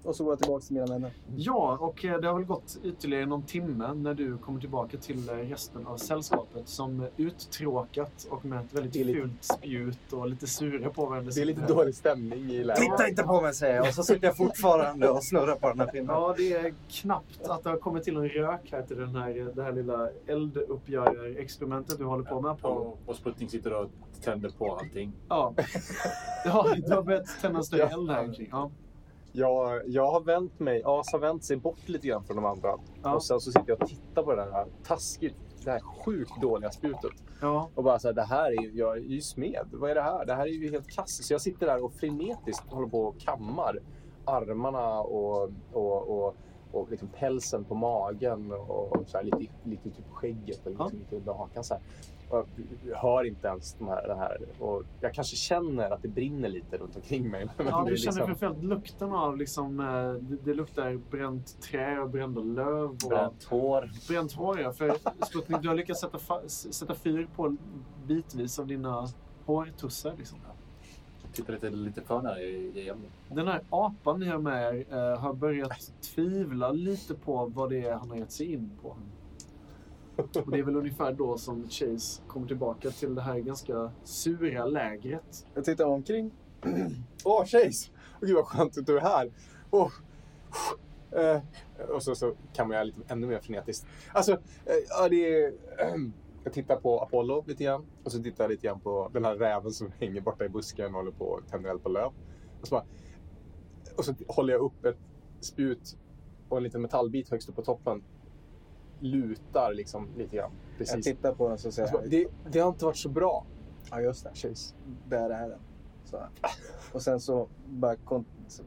[SPEAKER 3] Och så går jag tillbaka till mina vänner.
[SPEAKER 4] Ja, och eh, det har väl gått ytterligare någon timme när du kommer tillbaka till eh, resten av sällskapet som eh, uttråkat och med ett väldigt
[SPEAKER 6] Det är lite-
[SPEAKER 4] fult spjut och lite sura på varandra.
[SPEAKER 6] Det är lite
[SPEAKER 4] sitter här.
[SPEAKER 6] dålig stämning i lägret.
[SPEAKER 5] Titta inte på mig säger jag och så sitter jag fortfarande och snurrar på den här pinnen.
[SPEAKER 4] Ja, det är knappt att det har kommit till en rök här till den här, eh, det här lilla elduppgörarexperimentet du håller på med. Apollo.
[SPEAKER 7] Och, och Sputnik sitter och tänder på allting.
[SPEAKER 4] Ja. ja, du har börjat tända en större
[SPEAKER 6] Ja.
[SPEAKER 4] eld här omkring. Ja.
[SPEAKER 6] Jag, jag har vänt mig. As har vänt sig bort lite grann från de andra.
[SPEAKER 4] Ja.
[SPEAKER 6] Och sen så sitter jag och tittar på det här taskigt, det här sjukt dåliga spjutet.
[SPEAKER 4] Ja.
[SPEAKER 6] Och bara så här, det här är ju, jag är ju smed. Vad är det här? Det här är ju helt kass. Så jag sitter där och frenetiskt håller på och kammar armarna och, och, och, och liksom pälsen på magen och och så här lite, lite typ skägget och
[SPEAKER 4] Ja.
[SPEAKER 6] liksom lite under hakan så här. Och jag hör inte ens de här, det här. Och jag kanske känner att det brinner lite runt omkring mig. (laughs) Men
[SPEAKER 4] Ja,
[SPEAKER 6] det är
[SPEAKER 4] du känner
[SPEAKER 6] liksom-
[SPEAKER 4] framförallt lukten av liksom, eh, det, det luktar bränt trä och brända löv. Och...
[SPEAKER 7] Bränt hår.
[SPEAKER 4] bränt hår, ja. För Sputnik, du har lyckats sätta, fa- s- sätta fyr på bitvis av dina hårtussar. Liksom.
[SPEAKER 7] Tittar lite, lite för nära i- i ämnet.
[SPEAKER 4] Den här apan ni har med er eh, har börjat tvivla lite på vad det är han har gett sig in på. Och det är väl ungefär då som Chase kommer tillbaka till det här ganska sura lägret.
[SPEAKER 3] Jag tittar omkring.
[SPEAKER 6] Åh, Chase! Åh, Gud vad skönt att du är här. Åh, eh, och så, så kan jag lite ännu mer frenetiskt. Alltså, eh, ja, det är, jag tittar på Apollo lite grann. Och så tittar jag lite grann på den här räven som hänger borta i busken och håller på och tänder eld på löv. Och så, bara, och så håller jag upp ett spjut och en liten metallbit högst upp på toppen. Lutar liksom lite grann.
[SPEAKER 3] Jag
[SPEAKER 6] Precis.
[SPEAKER 3] tittar på den så
[SPEAKER 6] Och
[SPEAKER 3] säger
[SPEAKER 6] så
[SPEAKER 4] Alltså-
[SPEAKER 6] bara,
[SPEAKER 3] jag.
[SPEAKER 6] Det, det har inte varit så bra,
[SPEAKER 3] Ja, just det.
[SPEAKER 6] Chase.
[SPEAKER 3] Där är den. Så. här. Och sen så bara... Kon- så-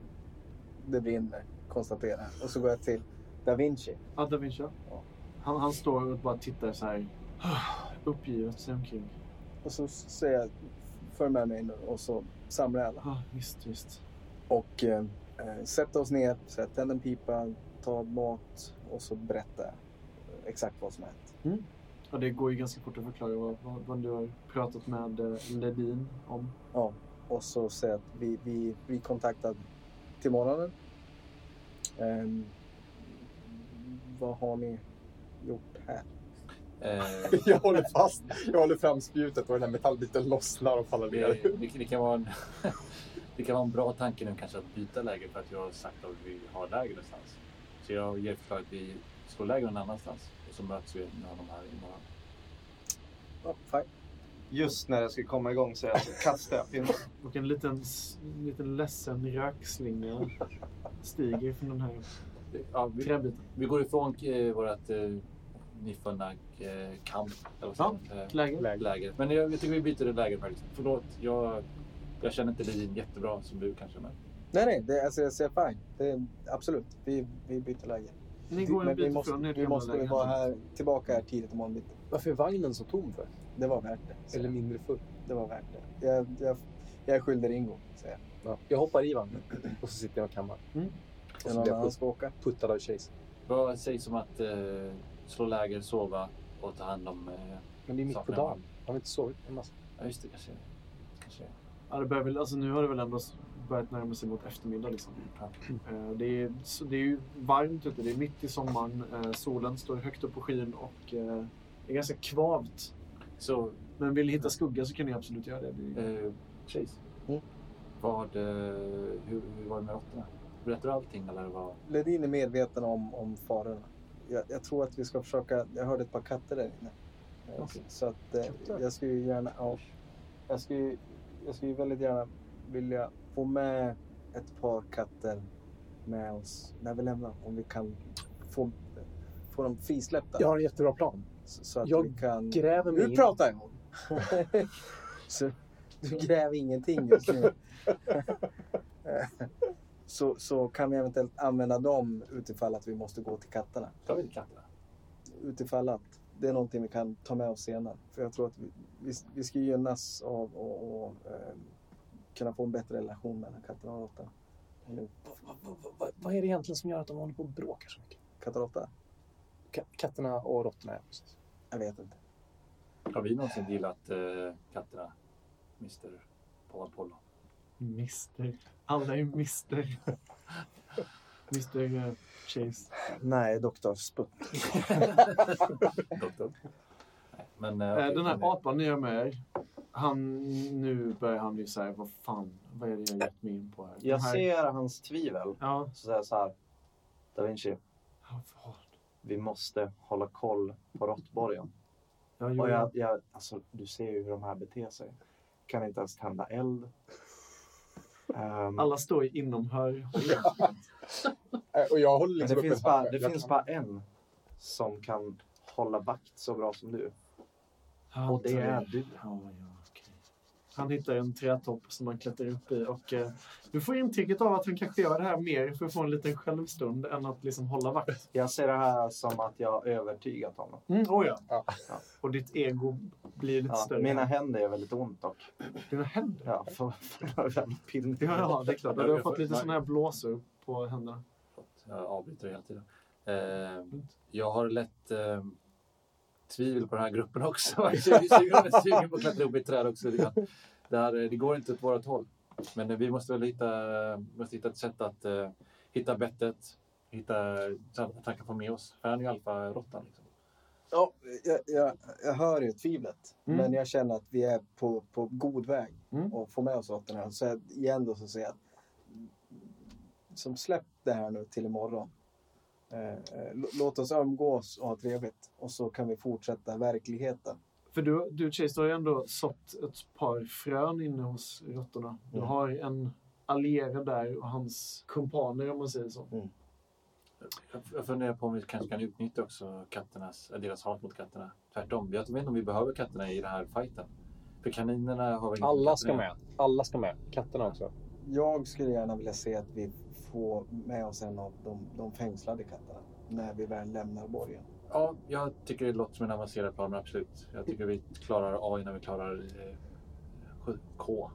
[SPEAKER 3] det brinner, konstaterar jag. Och så går jag till Da Vinci.
[SPEAKER 4] Ja, Da Vinci.
[SPEAKER 3] Ja.
[SPEAKER 4] Han, han står och bara tittar så här "Ah, uppgivet sig omkring.
[SPEAKER 3] Och så säger jag, följ med mig nu. Och så samlar jag alla.
[SPEAKER 4] Ja, Ah, visst, visst.
[SPEAKER 3] Och eh, eh, sätta oss ner, så här, tänd en pipa, ta mat och så berätta exakt vad som har hänt.
[SPEAKER 4] Ja, det går ju ganska fort att förklara vad, vad, vad du har pratat med eh, Ledin om.
[SPEAKER 3] Ja, och så säga att vi, vi blir kontaktade till morgonen. Ehm, vad har ni gjort här?
[SPEAKER 7] Eh,
[SPEAKER 6] Jag håller fast. Jag håller fram spjutet och den här metallbiten lossnar och faller ner.
[SPEAKER 7] Det, det, det, kan vara en, (laughs) det kan vara en bra tanke nu kanske att byta läger för att jag har sagt att vi har läger någonstans. Så jag ger förslag att vi slår läger någon annanstans och så möts vi med honom här imorgon.
[SPEAKER 3] Ja, fine.
[SPEAKER 5] Just när jag ska komma igång så, jag, så kastar jag pinnen.
[SPEAKER 4] Och en liten, s- liten ledsen rökslinga stiger från den här
[SPEAKER 7] Ja, vi,
[SPEAKER 4] träbiten.
[SPEAKER 7] vi går ifrån eh, vårt eh, nyfunna eh, kamp. Eller vad säger man? Eh,
[SPEAKER 4] Läget?
[SPEAKER 6] Läge.
[SPEAKER 7] läger. Men jag, jag tycker vi byter det läger faktiskt. Förlåt, jag, jag känner inte Lidin jättebra som du kanske. Men
[SPEAKER 3] Nej, nej, det, alltså, jag säger fine. Det, absolut, vi, vi byter läge.
[SPEAKER 4] Ni går en
[SPEAKER 3] Men vi
[SPEAKER 4] bit ifrån
[SPEAKER 3] måste, vi
[SPEAKER 4] nedgamla
[SPEAKER 3] måste väl vara
[SPEAKER 4] lägenheten.
[SPEAKER 3] här, tillbaka här tidigt imorgon bitti.
[SPEAKER 6] Varför är vagnen så tom för?
[SPEAKER 3] Det var värt det. säger
[SPEAKER 6] Eller
[SPEAKER 3] jag.
[SPEAKER 6] mindre full?
[SPEAKER 3] Det var värt det. Jag, jag, jag är skyldig Ringo, säger jag.
[SPEAKER 6] Ja. Jag hoppar i vagnen och så sitter jag och kammar.
[SPEAKER 4] Mm.
[SPEAKER 6] Och
[SPEAKER 3] Det är
[SPEAKER 6] så
[SPEAKER 3] någon annan
[SPEAKER 6] blir jag
[SPEAKER 3] som ska åka.
[SPEAKER 6] puttad av Chase.
[SPEAKER 7] Vad sägs om att eh, slå läger, sova och ta hand om... Eh,
[SPEAKER 6] Men det är mitt på
[SPEAKER 7] Saknar
[SPEAKER 6] dagen.
[SPEAKER 7] vagn.
[SPEAKER 6] Har vi inte sovit en massa?
[SPEAKER 7] ja, just det. Jag ser det. Jag ser det.
[SPEAKER 4] Ja, det börjar väl, alltså, nu har det väl ändå börjat närma sig mot eftermiddag. Liksom. Eh, Det, är, så det är ju varmt ute, det är mitt i sommaren, eh, solen står högt upp på skyn och eh, det är ganska kvavt.
[SPEAKER 7] Så,
[SPEAKER 4] Men vill ni hitta skugga så kan ni absolut göra det. det är,
[SPEAKER 7] eh, Chase.
[SPEAKER 3] Mm.
[SPEAKER 7] Vad, eh, hur, hur var det med råttorna? Berättar du allting eller vad?
[SPEAKER 3] Ledin är medveten om, om farorna. Jag, jag tror att vi ska försöka... Jag hörde ett par katter där inne. Eh,
[SPEAKER 7] Okej.
[SPEAKER 3] Så att eh,
[SPEAKER 7] Katter?
[SPEAKER 3] jag skulle ju gärna... Ja, jag skulle ju jag skulle ju väldigt gärna vilja få med ett par katter med oss när vi lämnar. Om vi kan få, få dem frisläppta.
[SPEAKER 6] Jag har en jättebra plan.
[SPEAKER 3] Så, så att
[SPEAKER 6] jag
[SPEAKER 3] vi kan...
[SPEAKER 6] Gräver mig
[SPEAKER 3] Nu
[SPEAKER 6] in-
[SPEAKER 3] pratar jag!
[SPEAKER 6] (laughs)
[SPEAKER 3] så, du gräver ingenting just nu. (laughs) så, så kan vi eventuellt använda dem utifall att vi måste gå till katterna.
[SPEAKER 7] Tar vi inte katterna?
[SPEAKER 3] Utifall att det är någonting vi kan ta med oss senare. För jag tror att vi, vi, vi ska gynnas av att och, eh, kunna få en bättre relation mellan katterna och råttorna. Eller
[SPEAKER 6] Vad- vad- vad- vad- Vad är det egentligen som gör att de håller på och bråkar så mycket?
[SPEAKER 3] Katter och råtta?
[SPEAKER 6] Ka- Katterna och råttorna, ja. Precis.
[SPEAKER 3] Jag vet inte.
[SPEAKER 7] Har vi någonsin gillat eh, katterna? Mr. Paul Polo.
[SPEAKER 4] mister. Alla är
[SPEAKER 3] (laughs)
[SPEAKER 4] mister. mister eh, Chase.
[SPEAKER 5] Nej, doktor Sputt.
[SPEAKER 7] Doktor. Nej, Men, eh,
[SPEAKER 4] Eh,
[SPEAKER 7] okej,
[SPEAKER 4] Den här
[SPEAKER 7] men-
[SPEAKER 4] apan ni har med er, han, nu börjar han bli så här, vad fan, vad är det jag gett mig in på här? Den
[SPEAKER 5] Jag
[SPEAKER 4] här,
[SPEAKER 5] ser hans tvivel.
[SPEAKER 4] Ja,
[SPEAKER 5] Så säger jag så här. Da Vinci,
[SPEAKER 4] ja, fan.
[SPEAKER 5] vi måste hålla koll på råttborgen.
[SPEAKER 4] Ja, jo,
[SPEAKER 5] Och
[SPEAKER 4] ja.
[SPEAKER 5] jag, jag, alltså, du ser ju hur de här beter sig. Kan inte ens tända eld. Ehm,
[SPEAKER 4] Alla står i inomhör.
[SPEAKER 6] Och jag håller liksom
[SPEAKER 5] men det finns, bara, det finns bara en som kan hålla vakt så bra som du.
[SPEAKER 4] Han
[SPEAKER 5] Och det
[SPEAKER 4] tar-
[SPEAKER 5] är du.
[SPEAKER 4] Ja, ja, okej. Han hittar en trätopp som han klättrar upp i och eh, du får intrycket av att han kanske gör det här mer för att få en liten självstund än att liksom hålla
[SPEAKER 5] (laughs)
[SPEAKER 4] vakt.
[SPEAKER 5] Jag ser det här som att jag har övertygat honom.
[SPEAKER 4] Mm, oh ja.
[SPEAKER 6] Ja.
[SPEAKER 4] Och ditt ego blir lite
[SPEAKER 5] Ja,
[SPEAKER 4] större.
[SPEAKER 5] mina händer är väldigt ont dock.
[SPEAKER 4] Dina händer? (laughs)
[SPEAKER 5] Ja, för, för några jävla pinnar.
[SPEAKER 4] Ja, ja, det är klart. Du har
[SPEAKER 7] Jag-
[SPEAKER 4] fått lite
[SPEAKER 7] nej.
[SPEAKER 4] sådana här blåsor på händerna.
[SPEAKER 7] Jag avbryter hela tiden. Eh, jag har lätt eh, tvivel på den här gruppen också. (laughs) Jag är sugen- jag är sugen på att klättra upp i ett träd också. lite grann. Det, här, eh, det går inte åt vårt håll. Men eh, vi måste väl hitta, eh, måste hitta ett sätt att eh, hitta bettet. Hitta så att han kan få med oss. För han är ju alfa-råttan. Liksom.
[SPEAKER 3] Ja, jag, jag, jag hör ju tvivlet,
[SPEAKER 4] Mm.
[SPEAKER 3] men jag känner att vi är på, på god väg
[SPEAKER 4] Mm.
[SPEAKER 3] att få med oss åt den här. Så jag, igen då så säger jag att som släpp det här nu till imorgon. Eh, eh, lå- låt oss umgås och ha trevligt och så kan vi fortsätta verkligheten.
[SPEAKER 4] För du, du Chase, du har ju ändå sått ett par frön inne hos råttorna. Du
[SPEAKER 3] Mm.
[SPEAKER 4] har en allierad där och hans kumpaner om man säger så.
[SPEAKER 7] Jag- Jag funderar på om vi kanske kan utnyttja också katternas, äh, deras hat mot katterna. Tvärtom. Jag vet inte om vi behöver katterna i den här fighten. För kaninerna har väl inget
[SPEAKER 6] Alla
[SPEAKER 7] med
[SPEAKER 6] ska
[SPEAKER 7] katterna
[SPEAKER 6] med. Alla ska med. Katterna också.
[SPEAKER 3] Jag skulle gärna vilja se att vi får med oss en av de, de fängslade katterna när vi väl lämnar borgen.
[SPEAKER 7] att göra. Ja, jag tycker det låter som en avancerad plan, men absolut. Jag tycker vi klarar A innan vi klarar eh, sju- K.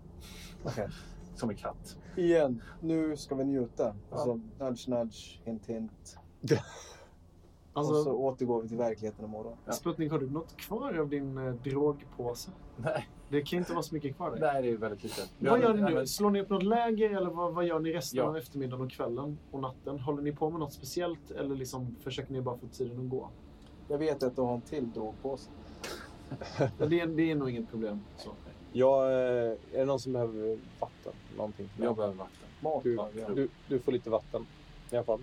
[SPEAKER 3] Okej.
[SPEAKER 7] (laughs) Som en katt.
[SPEAKER 3] Igen, nu ska vi njuta. Och
[SPEAKER 7] Ja.
[SPEAKER 3] så nudge, nudge, hint, hint. Och så
[SPEAKER 4] Alltså,
[SPEAKER 3] återgår vi till verkligheten imorgon.
[SPEAKER 7] Ja.
[SPEAKER 4] Sputnik, har du något kvar av din eh, drogpåse?
[SPEAKER 7] Nej,
[SPEAKER 4] Det kan inte vara så mycket kvar där.
[SPEAKER 7] nej det är väldigt lite. Vi
[SPEAKER 4] Vad
[SPEAKER 7] har-
[SPEAKER 4] gör ni nu?
[SPEAKER 7] men-
[SPEAKER 4] Slår ni upp något läger eller vad, vad gör ni resten
[SPEAKER 7] Ja.
[SPEAKER 4] av eftermiddagen och kvällen och natten? Håller ni på med något speciellt eller liksom försöker ni bara få tiden att gå?
[SPEAKER 3] Jag vet att du har en till drogpåse.
[SPEAKER 4] Ja, det, är- det är nog inget problem. Så.
[SPEAKER 6] Jag, eh, är det någon som behöver vatten? Någonting?
[SPEAKER 7] Jag behöver vatten.
[SPEAKER 3] Mat
[SPEAKER 6] Du,
[SPEAKER 3] har vi. Jag
[SPEAKER 6] du, du får lite vatten i alla fall.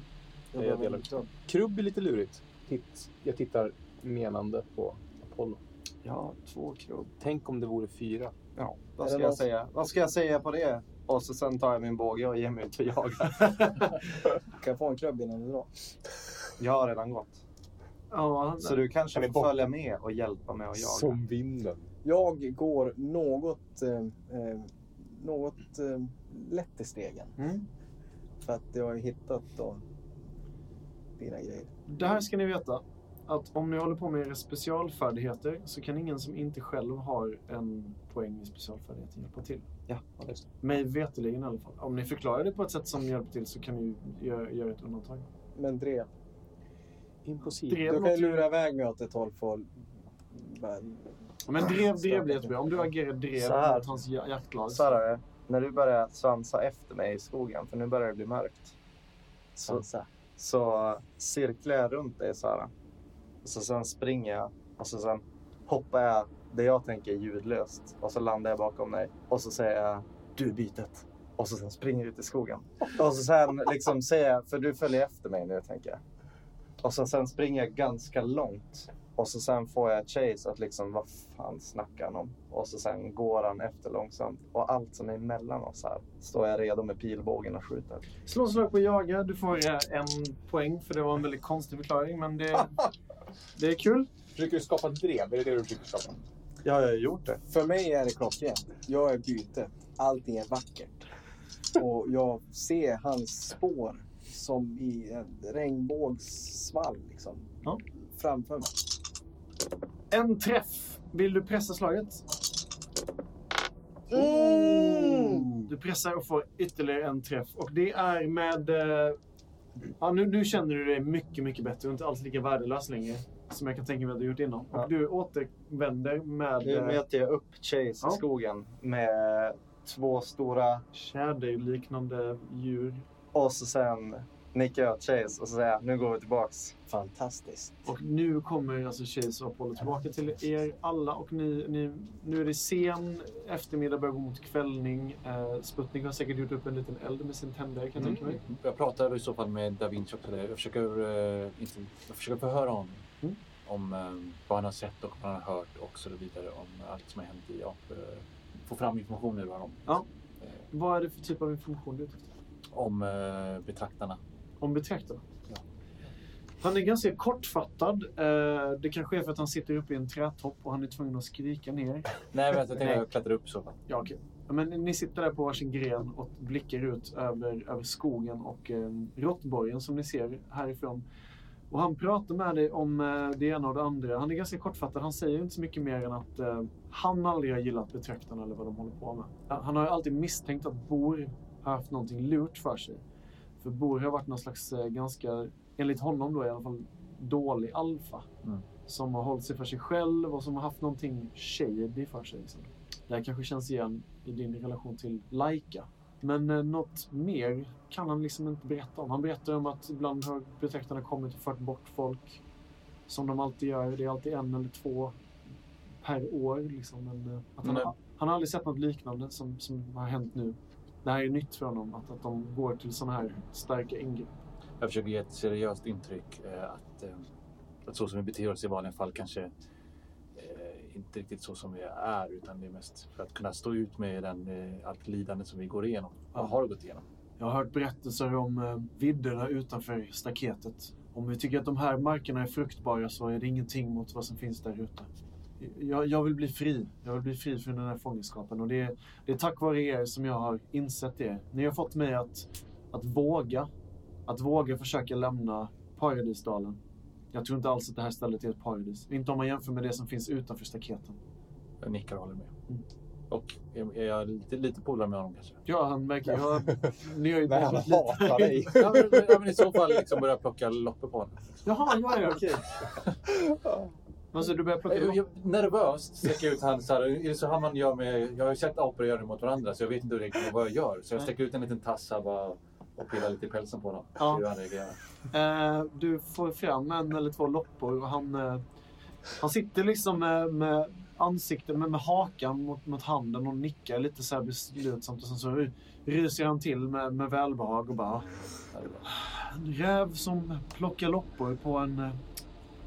[SPEAKER 3] behöver
[SPEAKER 6] delar
[SPEAKER 3] inte upp.
[SPEAKER 6] Krubb är lite lurigt. Titt, jag tittar menande på Apollo.
[SPEAKER 5] Ja, två krubb.
[SPEAKER 6] Tänk om det vore fyra.
[SPEAKER 5] Ja, vad
[SPEAKER 3] Är
[SPEAKER 5] ska
[SPEAKER 3] det
[SPEAKER 5] jag
[SPEAKER 3] någon-
[SPEAKER 5] säga? Vad ska jag säga på det? Och så sen tar jag min båge och ger mig ut och jagar.
[SPEAKER 3] Kan jag få en krubb innan du drar?
[SPEAKER 5] Jag har redan gått.
[SPEAKER 4] Ja,
[SPEAKER 5] Så du kanske får följa med och hjälpa mig att jaga.
[SPEAKER 6] Som vinden.
[SPEAKER 3] Jag går något, eh, eh, något eh, lätt i stegen.
[SPEAKER 4] Mm.
[SPEAKER 3] För att jag har hittat då dina grejer.
[SPEAKER 4] Det här ska ni veta. Att om ni håller på med era specialfärdigheter så kan ingen som inte själv har en poäng i specialfärdigheten hjälpa till.
[SPEAKER 6] Ja, ja, just
[SPEAKER 4] Mig veterligen i alla fall. Om ni förklarar det på ett sätt som hjälper till så kan ni ju göra, göra ett undantag.
[SPEAKER 3] Men drev.
[SPEAKER 6] det. Impossible.
[SPEAKER 4] Drev
[SPEAKER 3] Du kan ju
[SPEAKER 4] låter ju-
[SPEAKER 3] lura iväg mig åt ett håll för... Men,
[SPEAKER 4] Men drev, drev blir jättebra. Om du agerar drev
[SPEAKER 5] Ah, Så här.
[SPEAKER 4] mot hans ja- jaktlag.
[SPEAKER 5] Så här är det. När du börjar svansa efter mig i skogen, för nu börjar det bli mörkt. Så, så cirklar jag runt dig så här. Och så sen springer jag och så sen hoppar jag det jag tänker är ljudlöst. Och så landar jag bakom dig och så säger jag du är bytet. Och så sen springer jag ut i skogen. Och så sen liksom säger jag, för du följer efter mig nu tänker jag. Och så sen springer jag ganska långt. Och så sen får jag chase att liksom vad fan snackar han om? Och så sen går han efter långsamt. Och allt som är emellan oss här står jag redo med pilbågen och skjuter.
[SPEAKER 4] Slå slag på jaga. Du får eh, en poäng för det var en väldigt konstig förklaring. Men
[SPEAKER 5] (laughs)
[SPEAKER 4] det, det är kul.
[SPEAKER 6] Försöker du skapa drev? Är det det du försöker skapa?
[SPEAKER 5] Ja, jag har gjort det.
[SPEAKER 3] för mig är det klockrent. Jag är bytet. Allting är vackert. Och jag ser hans spår som i en regnbågssvall liksom.
[SPEAKER 4] Ja.
[SPEAKER 3] Framför mig.
[SPEAKER 4] En träff. Vill du pressa slaget?
[SPEAKER 6] Mm.
[SPEAKER 5] Mm.
[SPEAKER 4] Du pressar och får ytterligare en träff. Och det är med... eh, Ja, nu, nu känner du dig mycket, mycket bättre. Du är inte alls lika värdelös längre. Som jag kan tänka mig att du gjort innan.
[SPEAKER 5] Ja.
[SPEAKER 4] Och du återvänder med
[SPEAKER 5] Nu
[SPEAKER 4] eh,
[SPEAKER 5] möter jag upp Chase
[SPEAKER 4] Ja.
[SPEAKER 5] i skogen med två stora
[SPEAKER 4] tjäderliknande djur.
[SPEAKER 5] och så sen nickar jag åt Chase och så säger jag, nu går vi tillbaks.
[SPEAKER 3] Fantastiskt.
[SPEAKER 4] Och nu kommer alltså Chase och Apollo tillbaka till er alla. Och ni, ni, nu är det sen eftermiddag, börjar gå mot kvällning. Eh, Sputnik har säkert gjort upp en liten eld med sin tändare kan jag tänka mig.
[SPEAKER 7] Jag pratar i så fall med Da Vinci också. där. Jag försöker, eh, inte, jag försöker förhöra honom
[SPEAKER 4] Mm.
[SPEAKER 7] om eh, vad han har sett och vad han har hört och så vidare om allt som har hänt i AP. Få fram information ur honom.
[SPEAKER 4] Ja.
[SPEAKER 7] Eh,
[SPEAKER 4] Vad är det för typ av information du är ute efter?
[SPEAKER 7] om eh, betraktarna.
[SPEAKER 4] Om betraktarna?
[SPEAKER 7] Ja.
[SPEAKER 4] Han är ganska kortfattad. Eh, Det kanske är för att han sitter uppe i en trätopp och han är tvungen att skrika ner.
[SPEAKER 7] Nej, men jag tänkte
[SPEAKER 4] Nej.
[SPEAKER 7] jag klättrar upp i så fall.
[SPEAKER 4] Ja, okej. Ja, Men ni sitter där på varsin gren och blickar ut över, över skogen och eh, råttborgen som ni ser härifrån. Och han pratar med dig om eh, det ena och det andra. Han är ganska kortfattad. Han säger inte så mycket mer än att eh, han aldrig har gillat betraktarna eller vad de håller på med. Han han har ju alltid misstänkt att Bor har haft någonting lurt för sig. För Bor har varit någon slags eh, ganska, enligt honom då i alla fall, dålig alfa.
[SPEAKER 7] Mm.
[SPEAKER 4] Som har hållit sig för sig själv och som har haft någonting shady för sig. Liksom. Det här kanske känns igen i din relation till Laika. Men eh, något mer kan han liksom inte berätta om. Han berättar om att ibland har betraktarna kommit och fört bort folk. Som de alltid gör. Det är alltid en eller två per år. Liksom. Men, eh, att han,
[SPEAKER 7] Nej.
[SPEAKER 4] har, han har aldrig sett något liknande som, som har hänt nu. Det här är nytt för honom. Att, att de går till sådana här starka ingrepp.
[SPEAKER 7] Jag försöker ge ett seriöst intryck eh, att, eh, att så som vi beter oss i vanliga fall kanske eh, inte riktigt så som vi är utan det är mest för att kunna stå ut med den, eh, allt lidande som vi går igenom och har gått igenom.
[SPEAKER 4] Jag har hört berättelser om eh, vidderna utanför staketet. Om vi tycker att de här markerna är fruktbara så är det ingenting mot vad som finns där ute. Jag, jag vill bli fri. Jag vill bli fri från den här fångenskapen och det är, det är tack vare er som jag har insett det. Ni har fått mig att, att våga. Att våga försöka lämna paradisdalen. Jag tror inte alls att det här stället är ett paradis. Inte om man jämför med det som finns utanför staketen.
[SPEAKER 7] Jag nickar och håller med.
[SPEAKER 4] Mm.
[SPEAKER 7] Och är, är jag lite, lite polare med honom kanske?
[SPEAKER 4] Ja, han verkar ju ha... Ni har ju
[SPEAKER 6] (laughs) Nej, han
[SPEAKER 4] pratat lite.
[SPEAKER 6] hatar dig.
[SPEAKER 7] ja, men, men, ja, men i så fall liksom börja plocka loppor på honom.
[SPEAKER 4] Jaha, ja, ja, okej. Alltså, du börjar plocka
[SPEAKER 7] Jag, jag, nervöst sträcker ut handen så här. Är det så här man gör med... Jag har ju sett apor göra det mot varandra så jag vet inte riktigt vad jag gör. Så jag sträcker ut en liten tass här bara och pillar lite i pälsen på honom.
[SPEAKER 4] Ja.
[SPEAKER 7] Hur han reagerar.
[SPEAKER 4] Eh, du får fram en eller två loppor och han, eh, han sitter liksom med, med ansiktet, med, med hakan mot, mot handen och nickar lite så här beslutsamt och sen så ry- ryser han till med, med välbehag och bara
[SPEAKER 7] Ja, det är bra.
[SPEAKER 4] en räv som plockar loppor på en, eh,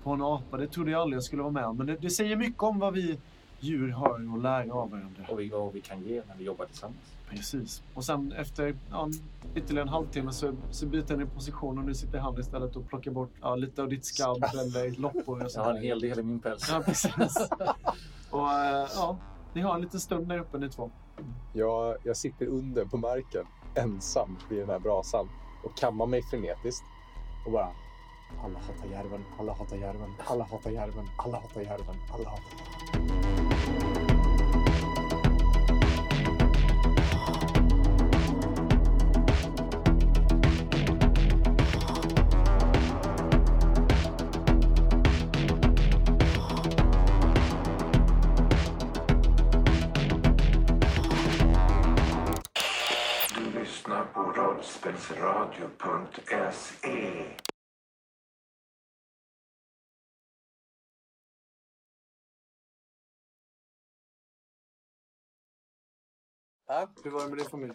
[SPEAKER 4] på en apa, det trodde jag aldrig jag skulle vara med om. Men det, det säger mycket om vad vi djur har att lära av varandra.
[SPEAKER 7] Och vi, vad vi kan ge när vi jobbar tillsammans.
[SPEAKER 4] Precis. Och sen efter ja, en- ytterligare en halvtimme så, så byter ni position och nu sitter han istället och plockar bort ja, lite av ditt skabb eller loppor och
[SPEAKER 7] Jag har en
[SPEAKER 4] sånt.
[SPEAKER 7] hel del i min päls.
[SPEAKER 4] Ja, precis. Och eh, ja, ni har en liten stund där uppe ni två.
[SPEAKER 6] Jag, jag sitter under på marken ensam vid den här brasan och kammar mig frenetiskt och bara Alla hatar järven, alla hatar järven, alla hatar järven, alla hatar järven, alla hatar
[SPEAKER 2] Du lyssnar på rollspelsradio.se
[SPEAKER 3] Ja.
[SPEAKER 8] Hur var det med din familj?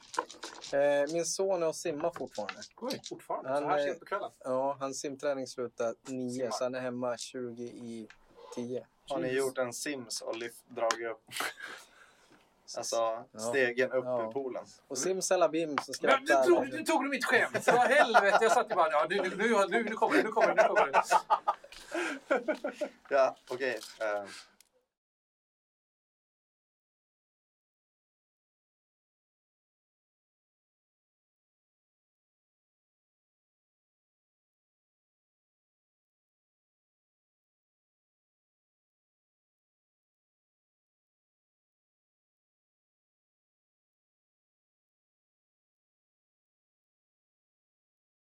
[SPEAKER 3] Eh, min son är och simmar fortfarande.
[SPEAKER 9] Oj, fortfarande?
[SPEAKER 3] Han
[SPEAKER 9] så här
[SPEAKER 3] är-
[SPEAKER 9] sent på kvällen?
[SPEAKER 3] Ja, hans simträning slutar nio, så han är hemma 20 i 10.
[SPEAKER 5] Har ni gjort en sims och lyft, dragit upp alltså,
[SPEAKER 3] Ja.
[SPEAKER 5] stegen upp
[SPEAKER 3] Ja.
[SPEAKER 5] ur poolen?
[SPEAKER 3] Och simsalabim så skrattar
[SPEAKER 4] Men nu tog, nu tog du mitt skämt! Vad helvete! Jag satt ju bara... Ja, nu, nu, nu, nu, nu kommer det, nu kommer det, nu kommer det.
[SPEAKER 5] Ja, okej. eh,